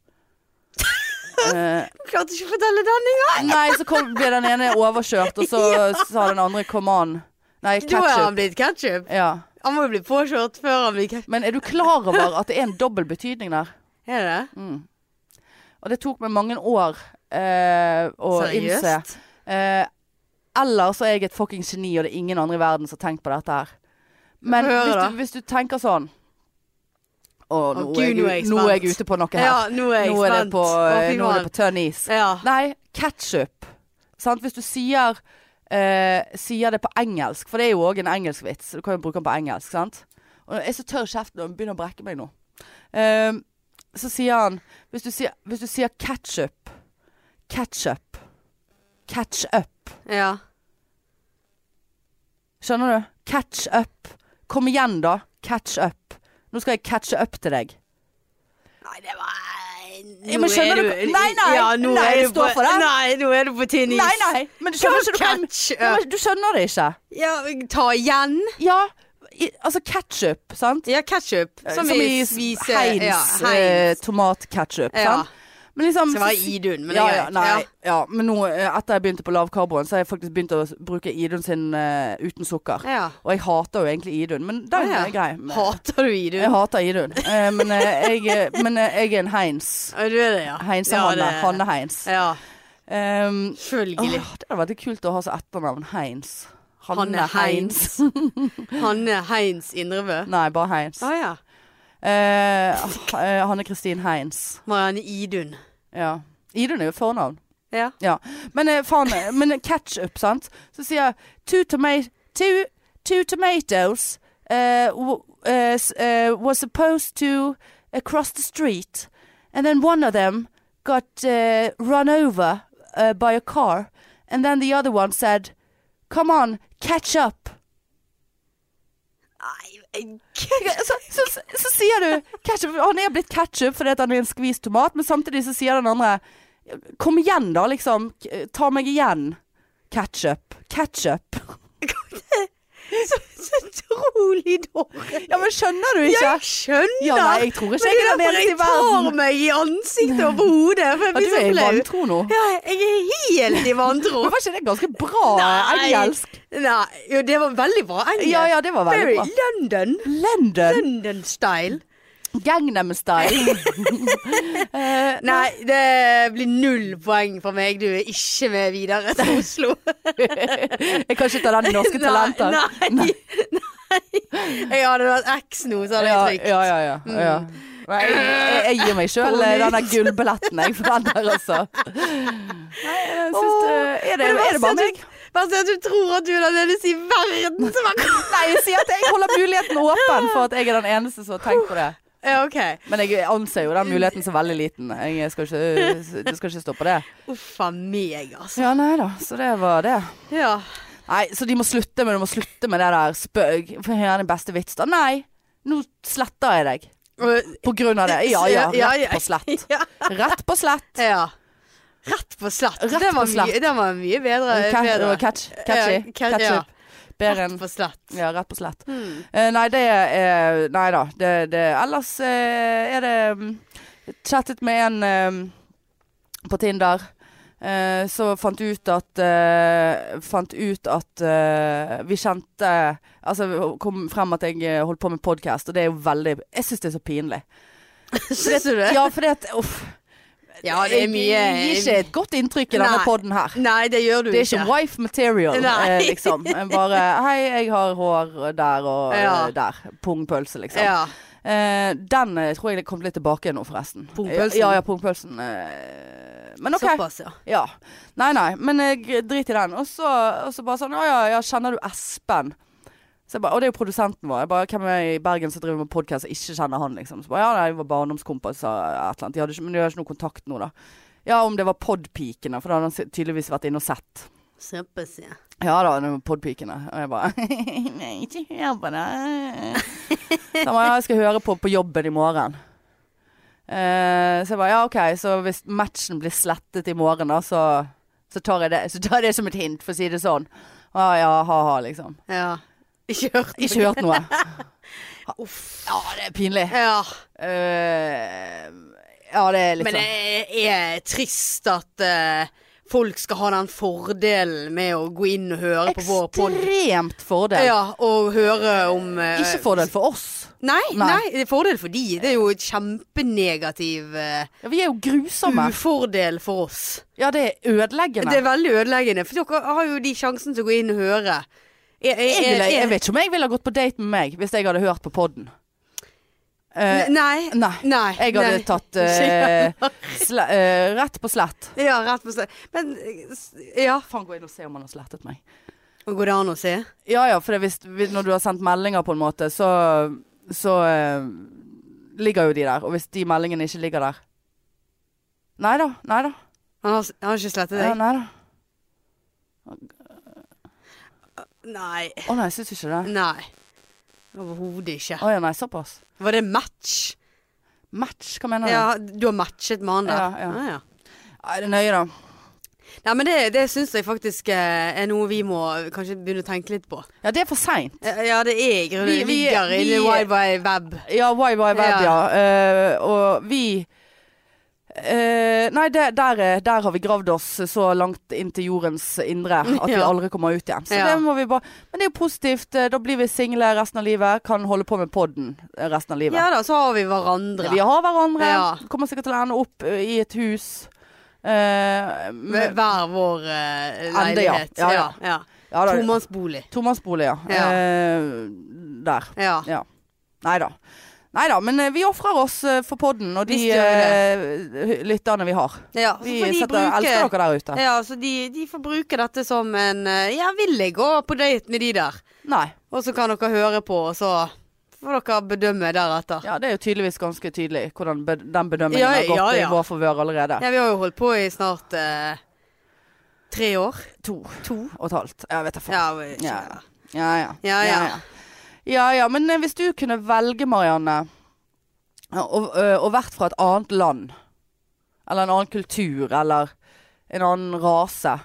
A: Eh,
B: Du klarte ikke å fortelle den engang!
A: nei, så kom, ble den ene overkjørt, og så sa den andre 'come on'. Nei,
B: Da er han
A: ketchup.
B: blitt ketchup.
A: Ja.
B: Han må jo bli påkjørt før han blir ketchup.
A: Men er du klar over at det er en dobbel betydning der?
B: Er det det?
A: Og det tok meg mange år eh, å innse.
B: Seriøst?
A: Eh, eller så er jeg et fucking geni, og det er ingen andre i verden som har tenkt på dette her. Men
B: Få høre,
A: hvis
B: da.
A: du, hvis du tenker sånn Å, nå,
B: Gud,
A: er,
B: nå er
A: jeg,
B: jeg
A: nå er jeg
B: spent.
A: ute på noe her.
B: Ja, nå er jeg
A: Nå er det
B: spent.
A: på, eh,
B: Å, fy
A: nå er det
B: faen.
A: på tønn is.
B: Ja.
A: Nei, ketchup. Sant? Hvis du sier, eh, sier det på engelsk, for det er jo òg en engelsk vits. Du kan jo bruke den på engelsk, sant. Og jeg er så tørr i kjeften og begynner å brekke meg nå. Eh, så sier han Hvis du sier, hvis du sier ketchup Ketchup. Catch up.
B: Ja.
A: Skjønner du? Catch up. Kom igjen, da. Catch up. Nå skal jeg catche up til deg.
B: Nei, det var
A: Ja, men skjønner du- Nei, nei,
B: ja, nå
A: nei,
B: er
A: jeg
B: du
A: står
B: på-
A: for det.
B: Nei, nå er du på tynn is.
A: Nei, nei! Men skjønner ikke du hva jeg
B: Catch
A: Ja,
B: up.
A: men Du skjønner det ikke.
B: Ja, ta igjen.
A: Ja, i, altså ketchup, sant?
B: Ja, ketchup.
A: Eh, Som, i
B: svise-
A: Heinz, eh,
B: ja, Heinz.
A: tomatketchup.
B: Ja.
A: sant? Men liksom,
B: Så det var
A: så-
B: Idun, men
A: ja,
B: det er
A: ja,
B: greit.
A: nei, ja. men nå, eh, etter jeg begynte på lavkarboen, så har jeg faktisk begynt å s- bruke Idun sin eh, uten sukker.
B: Ja.
A: Og jeg hater jo egentlig Idun, men den
B: Å, ja.
A: er grei. Men-
B: Hater du Idun?
A: Jeg hater Idun, eh, men, eh, jeg, eh, men eh, jeg er en Heinz.
B: Ja, du er det, ja.
A: Heinse-Hanne.
B: det-
A: Hanne Heinz.
B: Ja,
A: Um, åh,
B: selvfølgelig.
A: det hadde vært litt kult å ha som etternavn Heinz.
B: Hanne Heinz. Hanne Heins Indrebø.
A: Nei, bare Heinz.
B: Å ja.
A: Eh, eh, Hanne Kristin Heins.
B: Marianne Idun.
A: Ja. Idun er jo fornavn.
B: Ja.
A: Ja. Men eh, faen, eh, men ketchup, sant. Så sier jeg two, toma two, two tomatoes eh, w- eh, s- eh, was supposed to eh, cross the street. And then one of them got eh, run over eh, by a car. And then the other one said, come on, catch up.
B: Nei,
A: så, så, så, så sier du ketchup, Han er blitt ketchup fordi at han er en skvist tomat, men samtidig så sier den andre Kom igjen, da, liksom. K- Ta meg igjen. Ketchup. Ketchup.
B: så, så utrolig dårlig.
A: Ja, men skjønner du ikke?
B: Jeg skjønner.
A: Ja, nei, jeg tror ikke jeg
B: Men det er
A: er den
B: derfor
A: eneste
B: jeg
A: i
B: tar
A: verden.
B: meg i ansiktet og på hodet. For
A: Ja,
B: jeg
A: du
B: blir så
A: er i
B: flau.
A: vantro nå.
B: Ja, jeg er helt i vantro.
A: Men var ikke det ganske bra
B: Nei.
A: engelsk?
B: Nei, jo, det var veldig bra engelsk.
A: Ja, ja, det var veldig
B: Very
A: bra.
B: London.
A: London.
B: London-style.
A: Gangnam style. Mm.
B: Nei, det blir null poeng for meg. Du er ikke med videre til Oslo.
A: Jeg kan ikke ta den norske
B: Nei,
A: talenter.
B: Nei, nei. Jeg hadde vært X nå, så hadde
A: Ja,
B: jeg trykt.
A: ja, ja. ja, ja. Nei, Jeg, jeg, jeg gir meg sjøl
B: Pony.
A: den der gullbilletten jeg forventer, altså. Nei, jeg syns
B: Åh,
A: det, er, det,
B: men det
A: er det bare
B: verste er at
A: meg?
B: du- verste er at du tror at du er den eneste i verden som har kommet.
A: Nei, jeg sier at jeg holder muligheten åpen for at jeg er den eneste som har tenkt på det.
B: Ja, OK.
A: Men jeg anser jo den muligheten som veldig liten. Jeg skal ikke, du skal ikke stoppe det.
B: Uff a meg, altså.
A: Ja, nei da. Så det var det.
B: Ja.
A: Nei, så de må slutte med, de må slutte med det der spøk. For her er den beste vits, da. Nei, nå sletter jeg deg.
B: Og-
A: På grunn av det. Ja ja,
B: Ja, ja.
A: rett på slett.
B: Ja.
A: Rett på slett.
B: ja. Rett på slett.
A: Rett
B: det var
A: på slett.
B: Mye, det var mye bedre.
A: Ca- det var
B: bedre.
A: catch, catchy.
B: Ja, ca-
A: Ketchup.
B: ja.
A: Bedre enn
B: Rett på slett.
A: Ja, rett på slett.
B: Mm.
A: Eh, nei, det er Nei da. Det, det, ellers eh, er det mm, Chattet med en eh, på Tinder. Eh, så fant ut at eh, Fant ut at eh, vi kjente Altså kom frem at jeg eh, holdt på med podkast, og det er jo veldig Jeg syns det er så pinlig.
B: Syns du det?
A: Ja, fordi at Uff.
B: Ja, det er mye
A: Jeg gir ikke et godt inntrykk i denne
B: Nei.
A: poden her.
B: Nei, det gjør du
A: Det er ikke wife material,
B: Nei.
A: eh, liksom. Bare hei, jeg har hår der og eh,
B: Ja.
A: der. Pungpølse, liksom.
B: Ja.
A: Eh, den eh, tror jeg det kom litt tilbake nå, forresten.
B: Pungpølsen?
A: Ja, ja, pungpølsen. eh, men OK.
B: Såpass, ja.
A: Ja. Nei, nei. Men eh, gr- drit i den. Og så, og så bare sånn Å ja, ja, kjenner du Espen? Så jeg bare, og det er jo produsenten vår. Jeg bare, Hvem er det i Bergen som driver med podkast og ikke kjenner han, liksom? Så bare, ja, nei, vi var barndomskompiser et eller annet. De hadde ikke, men de har ikke noe kontakt nå, da. Ja, om det var Podpikene, for da hadde han s- tydeligvis vært inne og sett.
B: Såpass, ja.
A: Ja da, det var podpikene. Og jeg bare Nei, ikke hør på det. Så han bare ja, jeg skal høre på på jobben i morgen. Eh, så jeg bare ja, OK, så hvis matchen blir slettet i morgen, da, så, så, tar jeg det, så tar jeg det som et hint, for å si det sånn. Ja ja, ha-ha, liksom.
B: ja. Ikke hørt
A: Ikke hørt noe.
B: Uff.
A: Ja, det er pinlig.
B: Ja.
A: Eh, ja, det er litt
B: Men
A: sånn.
B: det er trist at eh, folk skal ha den fordelen med å gå inn og høre på vår pod.
A: Ekstremt fordel.
B: Ja, og høre om eh,
A: Ikke fordel for oss.
B: Nei,
A: Nei.
B: nei. det er fordel for de. Det er jo et kjempenegativ eh,
A: Ja, vi er jo grusomme.
B: ufordel for oss.
A: Ja, det er ødeleggende.
B: Det er veldig ødeleggende, for dere har jo de sjansen til å gå inn og høre. Jeg, jeg,
A: jeg, ville,
B: jeg-
A: jeg vet ikke om jeg ville ha gått på date med meg hvis jeg hadde hørt på podden. Eh,
B: Nei.
A: nei.
B: nei.
A: Jeg hadde
B: nei.
A: tatt eh, sle, eh, rett på slett.
B: Ja, rett og slett. Men eh, s- ja.
A: Faen, gå inn og se om han har slettet meg.
B: Og Går det an å se?
A: Ja ja, for det, hvis, hvis, når du har sendt meldinger på en måte, så, så eh, ligger jo de der. Og hvis de meldingene ikke ligger der Nei da, nei da.
B: Han har, han har ikke slettet
A: Ja,
B: deg?
A: nei da.
B: Nei.
A: Å nei, jeg syns ikke det.
B: Nei. Overhodet ikke.
A: Å ja, nei, såpass.
B: Var det match?
A: Match, hva mener du?
B: Ja, du har matchet med han der?
A: Ja, ja.
B: Ah, ja.
A: Nei, det er nøye, da.
B: Nei, men det, det syns jeg faktisk eh, er noe vi må kanskje begynne å tenke litt på.
A: Ja, det er for seint.
B: Eh, Ja, det er i grunnen
A: Vi-
B: Det
A: vi-
B: ligger i
A: vi-
B: the wide wide web.
A: Ja, why why web,
B: Ja.
A: ja. Eh, og vi eh, Nei, det, der, eh, der har vi gravd oss så langt inn til jordens indre at vi
B: Ja.
A: aldri kommer ut igjen. Så
B: Ja.
A: det må vi bare Men det er jo positivt. eh, Da blir vi single resten av livet. Kan holde på med podden eh, resten av livet.
B: Ja da, så har vi hverandre.
A: Vi har hverandre.
B: Ja.
A: Kommer sikkert til å ende opp eh, i et hus. eh,
B: Med
A: med,
B: hver vår eh,
A: ja.
B: leilighet.
A: Ja, ja. ja, da,
B: Tomannsbolig.
A: tomannsbolig, ja.
B: Ja.
A: Eh, der.
B: Ja.
A: Ja. Nei da. Nei da, men eh, vi ofrer oss eh, for podden og de
B: Visst
A: eh, lytterne vi har.
B: ja. Så
A: Vi
B: får de
A: setter,
B: bruke- Eh,
A: elsker dere der ute.
B: Ja, så de, de får bruke dette som en eh, Ja, vil jeg gå på date med de der?
A: Nei.
B: Og så kan dere høre på, og så får dere bedømme deretter. Ja,
A: Ja, det er jo tydeligvis ganske tydelig hvordan be den bedømmingen
B: Ja,
A: har gått
B: ja, ja.
A: i vår favør allerede.
B: vi har jo holdt på i snart eh, tre år.
A: To
B: To.
A: og et halvt. Jeg vet da faen.
B: Ja, vi-
A: Ja.
B: ja.
A: Ja ja.
B: Ja, ja.
A: ja, ja. Men eh, hvis du kunne velge, Marianne, og, ø, og vært fra et annet land, eller en annen kultur, eller en annen rase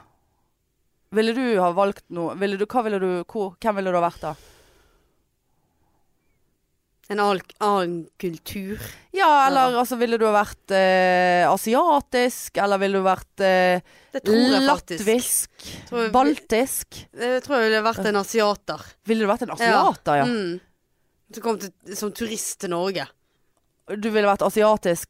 A: Ville du ha valgt noe ville du, hva ville du, hvor, Hvem ville du ha vært da?
B: En al- annen kultur.
A: Ja, eller
B: Ja.
A: altså ville du ha vært eh, asiatisk, eller ville du vært eh,
B: Det tror jeg faktisk.
A: latvisk,
B: Tror jeg-
A: baltisk?
B: Jeg tror jeg ville vært en asiater.
A: Ville du vært en asiater, ja?
B: Mm. Som kom til, som turist til Norge. Mm.
A: Du ville vært asiatisk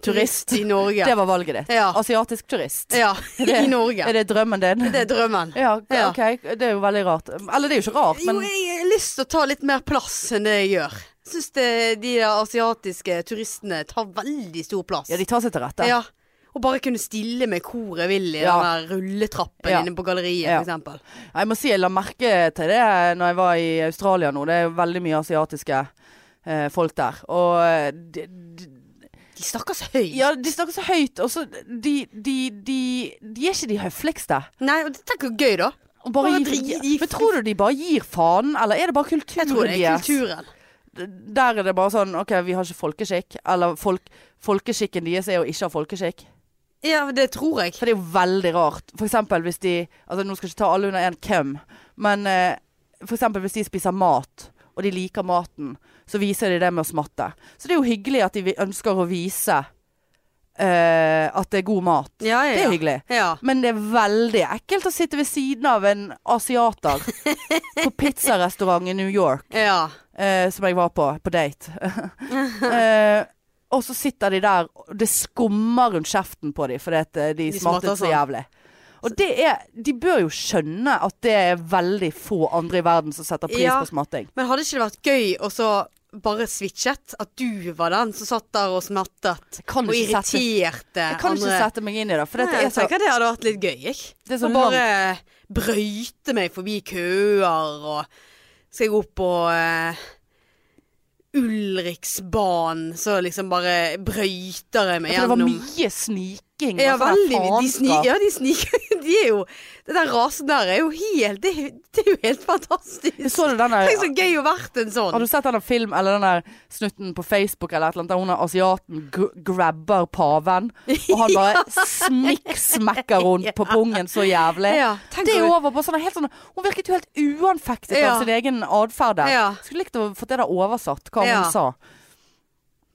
A: turist?
B: i Norge.
A: Det var valget ditt.
B: Ja.
A: Asiatisk turist.
B: ja. I
A: Er
B: Norge.
A: det drømmen din?
B: Det er drømmen.
A: Ja,
B: Ja.
A: ok. Det er jo veldig rart. Eller det er jo ikke rart,
B: Jo,
A: men
B: jeg har lyst til å ta litt mer plass enn det jeg gjør. Syns det, de der asiatiske turistene tar veldig stor plass.
A: ja, de tar seg til rette.
B: Ja. Og bare kunne stille med hvor jeg vil i
A: Ja.
B: den der rulletrappen
A: Ja.
B: inne på galleriet,
A: Ja.
B: for eksempel.
A: Jeg må si jeg la merke til det når jeg var i Australia nå. Det er jo veldig mye asiatiske eh, folk der. Og eh, de, de,
B: De snakker så høyt.
A: ja, de snakker så høyt, og så de, de, de, de er ikke de høfligste.
B: Nei, og tenk hvor gøy, da.
A: Og bare
B: Bare
A: gir,
B: dri- gir-
A: men tror du de bare gir faen, eller er det bare kulturen
B: Jeg tror det er
A: deres?
B: kulturen.
A: Der er det bare sånn OK, vi har ikke folkeskikk. Eller folk, folkeskikken deres er å ikke ha folkeskikk.
B: Ja, det tror jeg.
A: For det er jo veldig rart. For eksempel hvis de Altså nå skal jeg ikke ta alle under én køm, men eh, for eksempel hvis de spiser mat, og de liker maten, så viser de det med å smatte. Så det er jo hyggelig at de vi- ønsker å vise eh, at det er god mat.
B: Ja, ja,
A: Det er
B: ja.
A: hyggelig.
B: Ja.
A: Men det er veldig ekkelt å sitte ved siden av en asiater på pizzarestaurant i New York
B: ja.
A: eh, som jeg var på, på date. eh, og så sitter de der, og det skummer rundt kjeften på dem fordi at eh, de,
B: De smatter
A: smatter så
B: sånn.
A: jævlig. Og det er, de bør jo skjønne at det er veldig få andre i verden som setter pris
B: Ja.
A: på smatting.
B: Men hadde ikke det vært gøy å så bare switchet? At du var den som satt der og smattet
A: Jeg kan
B: og
A: jo ikke sette,
B: irriterte
A: jeg kan ikke sette meg inn i det, for
B: Nei,
A: det er
B: jeg
A: så,
B: tenker det hadde vært litt gøy, jeg.
A: det er så
B: Og
A: langt.
B: bare brøyte meg forbi køer og Skal jeg opp på eh, Ulriksbanen, så liksom bare brøyter jeg meg
A: For det var
B: gjennom.
A: mye sniking.
B: Ja,
A: og sånn
B: veldig mye. De,
A: faenskap.
B: sni, ja, de sniker De er jo Det der rasen der er jo helt Det, er- det er jo helt fantastisk.
A: Så du den
B: Tenk
A: der
B: så gøy å vært en
A: har
B: sånn.
A: du sett den film eller den der snutten på Facebook eller et eller annet, der hun er asiaten gr grabber paven, og han bare smikksmekker rundt på pungen så jævlig.
B: Ja, tenk
A: Det er
B: å-
A: jo over på sånn helt sånn Hun virket jo helt uanfektet
B: Ja.
A: av sin egen atferd der.
B: Ja.
A: Skulle likt å få det der oversatt, hva
B: Ja.
A: hun sa.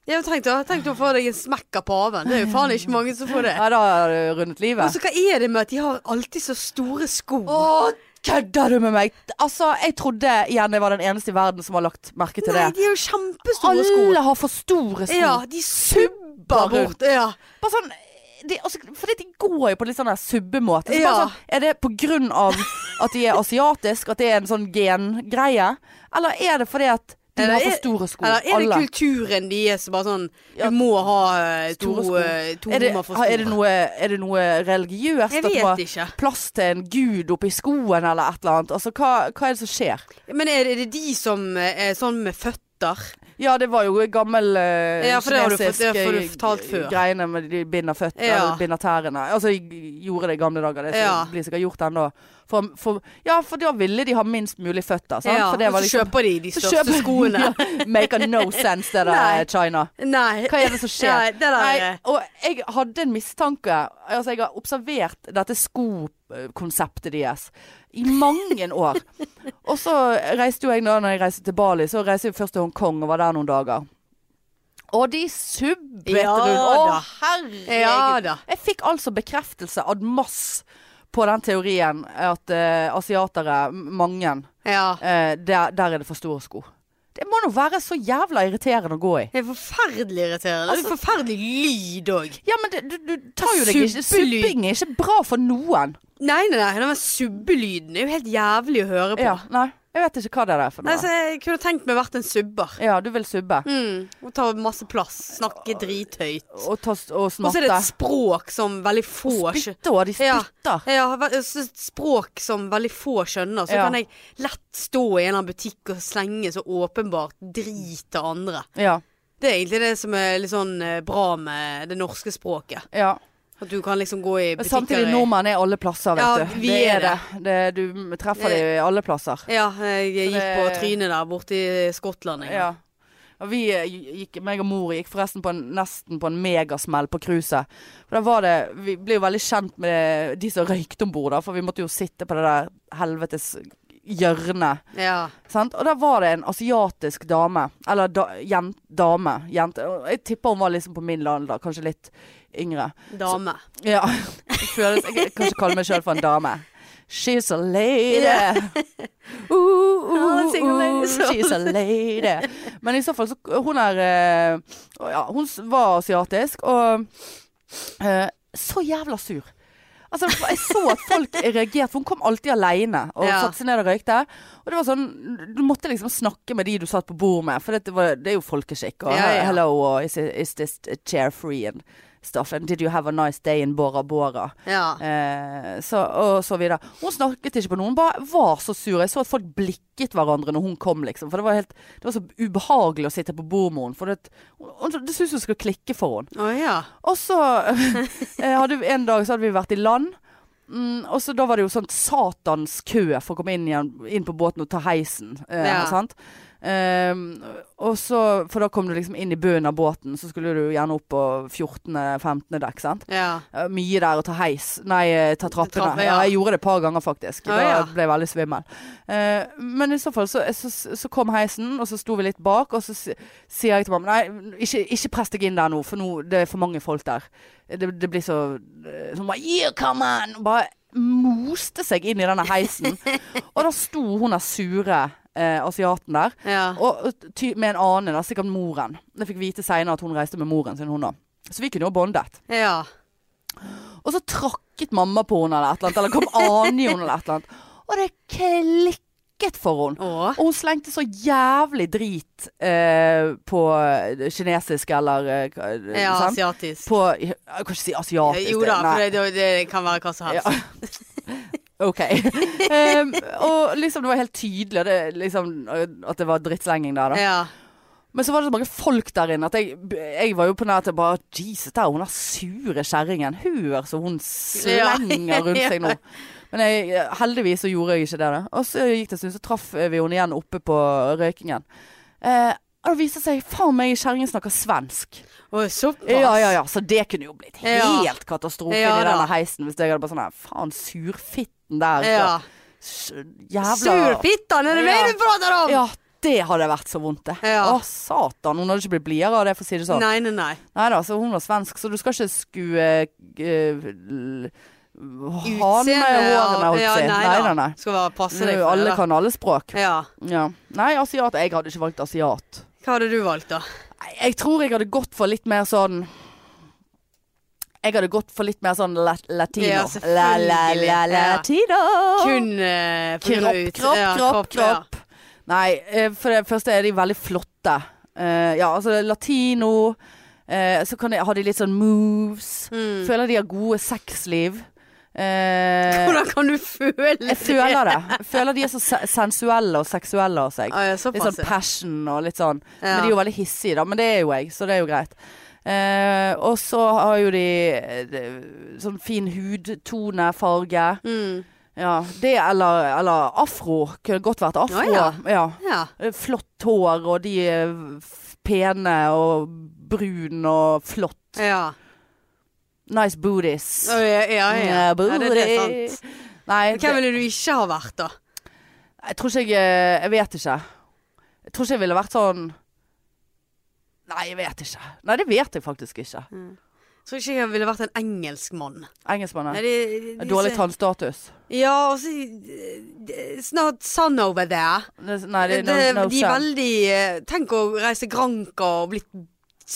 B: Ja, tenk da- tenk å få deg en smekk av paven. Det er jo faen ikke mange som får det.
A: Nei, da har du rundet
B: Og
A: livet.
B: så hva er det med at de har alltid så store sko?
A: Å, kødder du med meg? Altså, jeg trodde igjen jeg var den eneste i verden som har lagt merke til
B: Nei,
A: det.
B: de er jo kjempestore sko.
A: Alle har for store sko.
B: Ja, de subber bort. Ja.
A: Bare sånn de, altså, Fordi de går jo på litt sånn der subbemåte. Så
B: Ja.
A: bare sånn, er det på grunn av at de er asiatiske, at det er en sånn gengreie? Eller er det fordi at de
B: Eller
A: har for
B: er-
A: store sko?
B: Eller er det
A: Alle.
B: kulturen deres bare sånn
A: Ja.
B: Du må ha eh, to,
A: Store sko.
B: eh, to
A: Er det,
B: nummer for
A: er, det
B: store.
A: noe, er det noe religiøst?
B: Jeg
A: At det
B: vet
A: var
B: ikke.
A: plass til en gud oppi skoen eller et eller annet? Altså, hva, hva er det som skjer?
B: Men er det, er det de som eh, er sånn med føtter?
A: Ja, det var jo gammel eh,
B: Ja, for det har du fått-
A: kinesisk
B: det har du
A: eh,
B: fortalt før.
A: greiene med de binder føtter,
B: Ja.
A: eller binder tærne. Altså, jeg gjorde det i gamle dager, det
B: Ja.
A: blir sikkert gjort ennå. For, for, ja, for da ville de ha minst mulig føtter, sant?
B: Ja,
A: for det
B: og så
A: var liksom
B: kjøper de de
A: Så
B: største
A: kjøper-
B: skoene.
A: Ja, Make a no sense, det der
B: Nei.
A: eh, China.
B: Nei.
A: Hva er det som skjer?
B: Nei, det der,
A: Nei, og jeg hadde en mistanke Altså, jeg har observert dette skokonseptet deres i mange år. og så reiste jo jeg da når jeg reiste til Bali, så reiste jeg først til Hongkong og var der noen dager. Og de subbet
B: Ja
A: rundt. Å,
B: da.
A: herregud.
B: Ja da.
A: Jeg fikk altså bekreftelse ad mass på den teorien at eh, asiatere, m- mange,
B: Ja.
A: eh, der, der er det for store sko. Det må nå være så jævla irriterende å gå i.
B: Det er forferdelig irriterende.
A: Altså-
B: det er forferdelig lyd òg.
A: Ja, men det, du, du tar jo deg ikke
B: Subbelyd.
A: Subbing er ikke bra for noen.
B: Nei, nei, nei. Den subbelyden er jo helt jævlig å høre på.
A: Ja, nei. Jeg vet ikke hva det er for
B: Nei,
A: noe.
B: så Jeg kunne tenkt meg vært en subber.
A: Ja, du vil subbe.
B: Mm, og ta masse plass. Snakke drithøyt.
A: Og, ta, s- og
B: Og så er det
A: snatte.
B: et språk som veldig få skjø-
A: Spytte, og de
B: Ja.
A: spytter.
B: ja, ve- så et språk som veldig få skjønner. Så
A: Ja.
B: kan jeg lett stå i en eller annen butikk og slenge så åpenbart drit til andre.
A: Ja.
B: Det er egentlig det som er litt sånn eh, bra med det norske språket.
A: ja.
B: At du kan liksom gå i
A: Men
B: butikker
A: samtidig,
B: i-
A: nordmenn er alle plasser, vet
B: Ja,
A: du.
B: vi
A: det
B: er
A: er det. det. Du treffer dem i alle plasser.
B: Ja, jeg gikk
A: det-
B: på trynet der borte i Skottland. jeg.
A: Ja. Og vi eh, gikk, meg og mor gikk forresten på en, nesten på en megasmell på cruiset. For da var det Vi ble jo veldig kjent med det, de som røykte om bord, da. For vi måtte jo sitte på det der helvetes hjørnet.
B: Ja.
A: Sant? Og der var det en asiatisk dame, eller da, jen, dame, jente. Og Jeg tipper hun var liksom på min alder, kanskje litt yngre.
B: Dame.
A: Ja, jeg, føler, jeg kan ikke kalle meg sjøl for en dame. She's a lady. Ooh, ooh,
B: Alle single ladies.
A: ooh, she's a lady. Men i så fall, så hun er eh, å Ja, hun s- var asiatisk, og eh, så jævla sur. Altså, jeg så at folk reagerte, for hun kom alltid aleine og
B: Ja.
A: satte seg ned og røykte. Og det var sånn, du måtte liksom snakke med de du satt på bord med, for det, var, det er jo folkeskikk. Og
B: Ja, ja.
A: hello, og is, is this chair free and stuff, and did you have a nice day in Bora Bora?
B: Ja.
A: Eh, så, og så videre. Hun snakket ikke på noen, bare var så sur. Jeg så at folk blikket hverandre når hun kom, liksom. For det var, helt, det var så ubehagelig å sitte på bord med henne. For det, hun, det syntes hun skulle klikke for henne.
B: Å ja.
A: Og så eh, hadde vi en dag så hadde vi vært i land. Mm, og så da var det jo sånn satans kø for å komme inn, igjen, inn på båten og ta heisen. Eh,
B: Ja.
A: sant? Ehm, og så, for da kom du liksom inn i bunnen av båten, så skulle du gjerne opp på 14.-15. dekk. sant?
B: ja.
A: Eh, Mye der å ta heis. Nei, eh, ta trappene.
B: Trappe,
A: ja.
B: ja.
A: jeg gjorde det et par ganger, faktisk.
B: Ja,
A: da
B: ja.
A: ble jeg veldig svimmel. Eh, men i så fall så, så, så kom heisen, og så sto vi litt bak, og så si- sier jeg til mamma Nei, ikke, ikke press deg inn der nå, for nå det er for mange folk der. Det, det blir så eh, Sånn bare You come on! Bare moste seg inn i denne heisen. og da sto hun der sure eh, asiaten der.
B: ja.
A: Og og ty med en annen, da, sikkert moren. Jeg fikk vite seinere at hun reiste med moren sin, hun da. Så vi kunne jo bondet.
B: ja.
A: Og så trakket mamma på henne eller et eller annet, eller kom annen i henne eller et eller annet. Og det klikket for henne.
B: Å.
A: Og hun slengte så jævlig drit eh, på eh, kinesisk eller eh, hva-
B: Ja,
A: sant?
B: asiatisk.
A: På, jeg kan ikke si asiatisk.
B: Eh, Jo da,
A: nei.
B: for det, det, det kan være hva som helst.
A: Ok. Em, og liksom det var helt tydelig og det, liksom, eh, at det var drittslenging der, da.
B: Ja.
A: Men så var det så mange folk der inne at jeg, jeg var jo på nettet bare Jesus, der hun er sure kjerringen. Hør så hun slenger rundt seg nå. Men jeg, heldigvis så gjorde jeg ikke det. Da. Og så gikk det en stund, så traff vi henne igjen oppe på røykingen. Eh, og det viste seg faen meg kjerringen snakker svensk.
B: Å, såpass.
A: Ja, ja, ja. Så det kunne jo blitt helt
B: Ja.
A: katastrofe
B: Ja,
A: i denne
B: da.
A: heisen hvis jeg hadde bare sånn her Faen, surfitten der.
B: Ja.
A: Så, jævla
B: Surfittan, er det
A: Ja.
B: meg du prater om?
A: Ja, det hadde vært så vondt, det.
B: Ja.
A: Å, satan. Hun hadde ikke blitt blidere av det, for å si det sånn.
B: Nei, nei, nei.
A: Nei da, så hun var svensk, så du skal ikke skue eh, l- Han med hårene, holdt jeg på å si. Nei, nei, nei.
B: Skal bare passe deg
A: Nå,
B: for
A: Alle
B: det. da.
A: kan alle språk.
B: Ja.
A: Ja. Nei, asiat Jeg hadde ikke valgt asiat.
B: Hva hadde du valgt, da?
A: Nei, Jeg tror jeg hadde gått for litt mer sånn Jeg hadde gått for litt mer sånn la latino.
B: Ja,
A: la, la, la,
B: selvfølgelig. Ja.
A: latino.
B: Kun eh, på grunn av
A: Kropp,
B: ut-
A: kropp,
B: ja,
A: kropp,
B: ja.
A: kropp. Nei, eh, for det første er de veldig flotte. Eh, ja, altså latino. eh, så kan de, har de litt sånn moves.
B: Mm.
A: Føler de har gode sexliv. Eh,
B: Hvordan kan du føle
A: jeg føler det. Jeg føler de er så se- sensuelle og seksuelle av seg.
B: Ah, ja,
A: Litt
B: såpass,
A: sånn
B: ja.
A: passion og litt sånn. Men de er
B: ja.
A: jo veldig hissige, da. Men det er jo jeg, så det er jo greit. Eh, og så har jo de eh, de- sånn fin hudtone, farge.
B: Mm.
A: Ja, det eller, eller afro. Kunne godt vært afro.
B: Ja,
A: ja.
B: ja.
A: Eh, Flott hår, og de er f- pene og brun og flott.
B: ja.
A: Nice booties.
B: Å, ja, ja, ja.
A: Ja,
B: ja det, det er
A: booty.
B: sant.
A: Nei,
B: Men
A: det,
B: Hvem ville du ikke ha vært, da?
A: jeg tror ikke jeg Jeg vet ikke. Jeg tror ikke jeg ville vært sånn Nei, jeg vet ikke. Nei, det vet jeg faktisk ikke.
B: Mm. Jeg tror ikke jeg ville vært en engelsk mann.
A: Engelskmannen.
B: Nei, de- de- de-
A: Dårlig tannstatus.
B: Ja, og så de- It's not sun over there.
A: Det- Nei, det er no,
B: Det-
A: no
B: de er
A: shame.
B: veldig eh, Tenk å reise Granca og blitt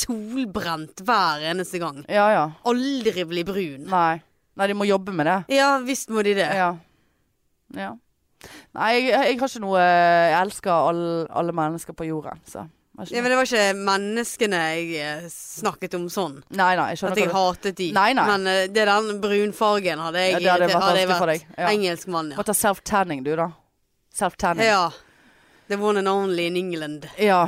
B: solbrent hver eneste gang.
A: Ja, ja.
B: Aldri bli brun.
A: Nei. Nei, de må jobbe med det.
B: Ja visst må de det.
A: Ja. ja. Nei, jeg, jeg har ikke noe eh, Jeg elsker alle, alle mennesker på jorden, så jeg har ikke
B: Ja, men det var ikke menneskene jeg eh, snakket om sånn.
A: noe- Nei, nei, jeg
B: At
A: skjønner
B: jeg
A: hva
B: hatet de.
A: Nei, nei.
B: Men eh, det er den brunfargen hadde jeg
A: Ja, det hadde
B: irritert-
A: vært vanskelig for deg, ja.
B: Engelsk mann,
A: du
B: ja.
A: Må ta self-tanning, du, da. Self-tanning.
B: ja. The one and only in England.
A: Ja.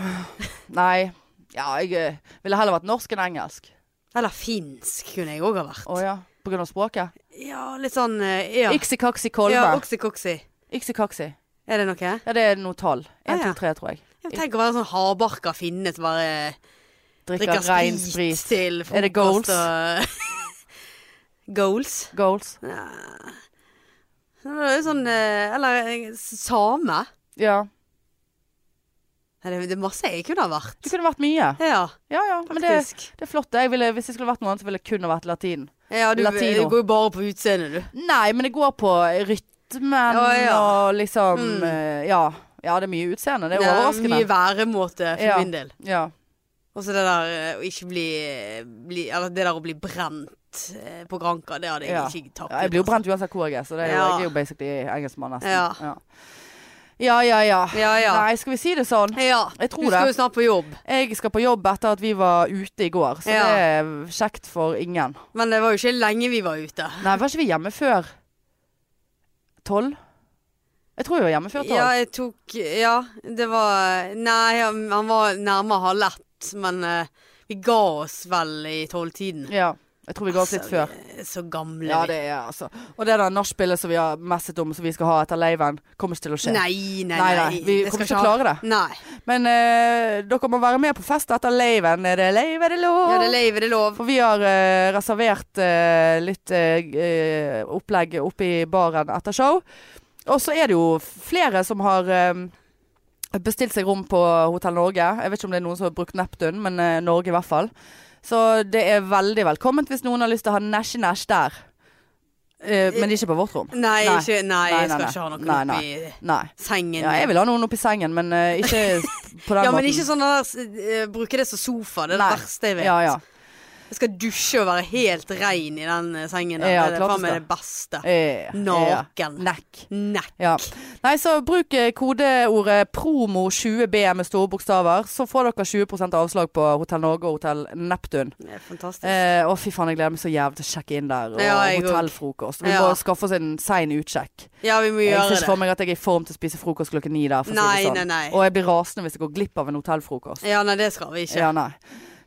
A: Nei. Ja, jeg eh, ville heller vært norsk enn engelsk.
B: Eller finsk kunne jeg òg ha vært.
A: Å ja. På grunn av språket?
B: Ja, litt sånn eh, Ja.
A: Iksi-kaksi
B: ja
A: kolbe.
B: Oksikoksi.
A: Iksi-kaksi.
B: Er det noe?
A: Ja, det er noe tall. Én,
B: Ja,
A: to,
B: ja.
A: tre, tror jeg.
B: Ja, men Tenk å være sånn hardbarka finne som bare
A: Drikker
B: drikker
A: rein
B: sprit,
A: sprit.
B: til frokost.
A: Er det goals?
B: Og goals?
A: Goals.
B: Ja. Det er jo sånn eh, Eller eh, same.
A: Ja.
B: Nei, det- Det er masse jeg kunne ha
A: Det
B: vært.
A: kunne vært mye.
B: Ja,
A: Ja ja, men det,
B: faktisk.
A: det er flott. Jeg ville, hvis jeg skulle vært noe annet, så ville jeg kun ha vært latin.
B: Ja, du,
A: Latino.
B: du går jo bare på utseendet, du.
A: Nei, men det går på rytmen
B: Ja, ja.
A: og liksom
B: Mm.
A: eh, ja. ja, det er mye utseende. Det er
B: Ja,
A: overraskende.
B: Mye væremåte for
A: Ja.
B: min del.
A: Ja.
B: Og så det der eh, å ikke bli, bli Eller det der å bli brent eh, på Granka, det hadde jeg
A: Ja.
B: ikke taklet.
A: Ja, jeg blir jo brent uansett hvor jeg er, så det er jo,
B: Ja.
A: jeg er jo basically engelskmann, nesten.
B: Ja.
A: Ja. ja ja ja.
B: Ja, ja.
A: Nei, skal vi si det sånn?
B: ja.
A: Jeg tror
B: du skal
A: det.
B: jo snart på jobb.
A: Jeg skal på jobb etter at vi var ute i går, så
B: Ja.
A: det er kjekt for ingen.
B: Men det var jo ikke lenge vi var ute.
A: Nei, var ikke vi hjemme før tolv? Jeg tror vi var hjemme før tolv.
B: Ja, jeg tok Ja, det var Nei, han han var nærmere halv ett, men eh, vi ga oss vel i tolvtiden.
A: Ja, jeg tror vi går opp litt
B: Altså,
A: før.
B: Så gamle
A: Ja, det er altså. Og det der nachspielet som vi har messet om, som vi skal ha etter laven, kommer ikke til å
B: vi.
A: skje.
B: Nei, nei,
A: Nei,
B: nei.
A: nei, vi
B: det
A: kommer
B: skal
A: ikke til å
B: ha-
A: klare det.
B: Nei.
A: Men eh, dere må være med på fest etter laven. Er det lave, er det lov?
B: Ja, det er lei, det er lov.
A: For vi har eh, reservert eh, litt eh, opplegg oppe i baren etter show. Og så er det jo flere som har eh, bestilt seg rom på Hotell Norge. Jeg vet ikke om det er noen som har brukt Neptun, men eh, Norge i hvert fall. Så det er veldig velkomment hvis noen har lyst til å ha næsj-næsj der. Eh, men ikke på vårt rom.
B: Nei,
A: Nei.
B: Ikke, nei,
A: Nei,
B: jeg skal
A: nei,
B: ikke ha noe
A: nei, nei.
B: oppi
A: Nei.
B: sengen.
A: Ja, jeg vil ha noen oppi sengen, men eh, ikke på den
B: Ja,
A: måten.
B: men ikke sånn der eh, Bruke det som sofa. Det er
A: Nei.
B: det verste jeg vet.
A: Ja, ja.
B: Jeg skal dusje og være helt rein i den eh, sengen. Der.
A: Ja,
B: det er
A: klart du
B: faen meg
A: skal.
B: det beste.
A: Eh, eh,
B: Naken.
A: Nekk.
B: Nei.
A: Ja. Nei, så bruk eh, kodeordet promo20b med store bokstaver, så får dere 20 avslag på Hotell Norge og Hotell Neptun.
B: Det er fantastisk.
A: Eh, å, fy faen, jeg gleder meg så jævlig til å sjekke inn der. Og
B: Ja, jeg òg.
A: hotellfrokost. Vi
B: Ja.
A: må skaffe oss en sein utsjekk.
B: ja, vi må
A: Jeg
B: gjøre
A: ser
B: det.
A: ikke for meg at jeg er i form til å spise frokost klokken ni der. For å
B: Nei,
A: si det
B: nei,
A: sånn.
B: nei.
A: Og jeg blir rasende hvis jeg går glipp av en hotellfrokost.
B: Ja, nei, det skal vi ikke.
A: Ja, nei.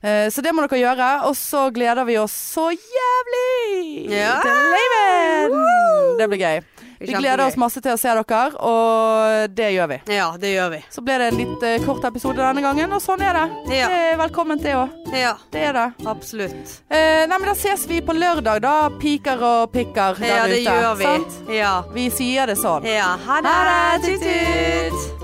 A: Eh, Så det må dere gjøre, og så gleder vi oss så jævlig
B: Ja.
A: til laven! Det blir gøy. Vi gleder oss masse til å se dere, og det gjør vi.
B: Ja, det gjør vi.
A: Så ble det en litt eh, kort episode denne gangen, og sånn er det.
B: Ja.
A: det er velkommen det òg.
B: Ja,
A: Det er det.
B: absolutt.
A: Eh, nei, men da ses vi på lørdag, da. Piker og pikker der
B: Ja, det
A: ute.
B: gjør vi.
A: Sant?
B: Ja.
A: Vi sier det sånn.
B: ja. Ha det.
A: Ha det,
B: Tut-tut.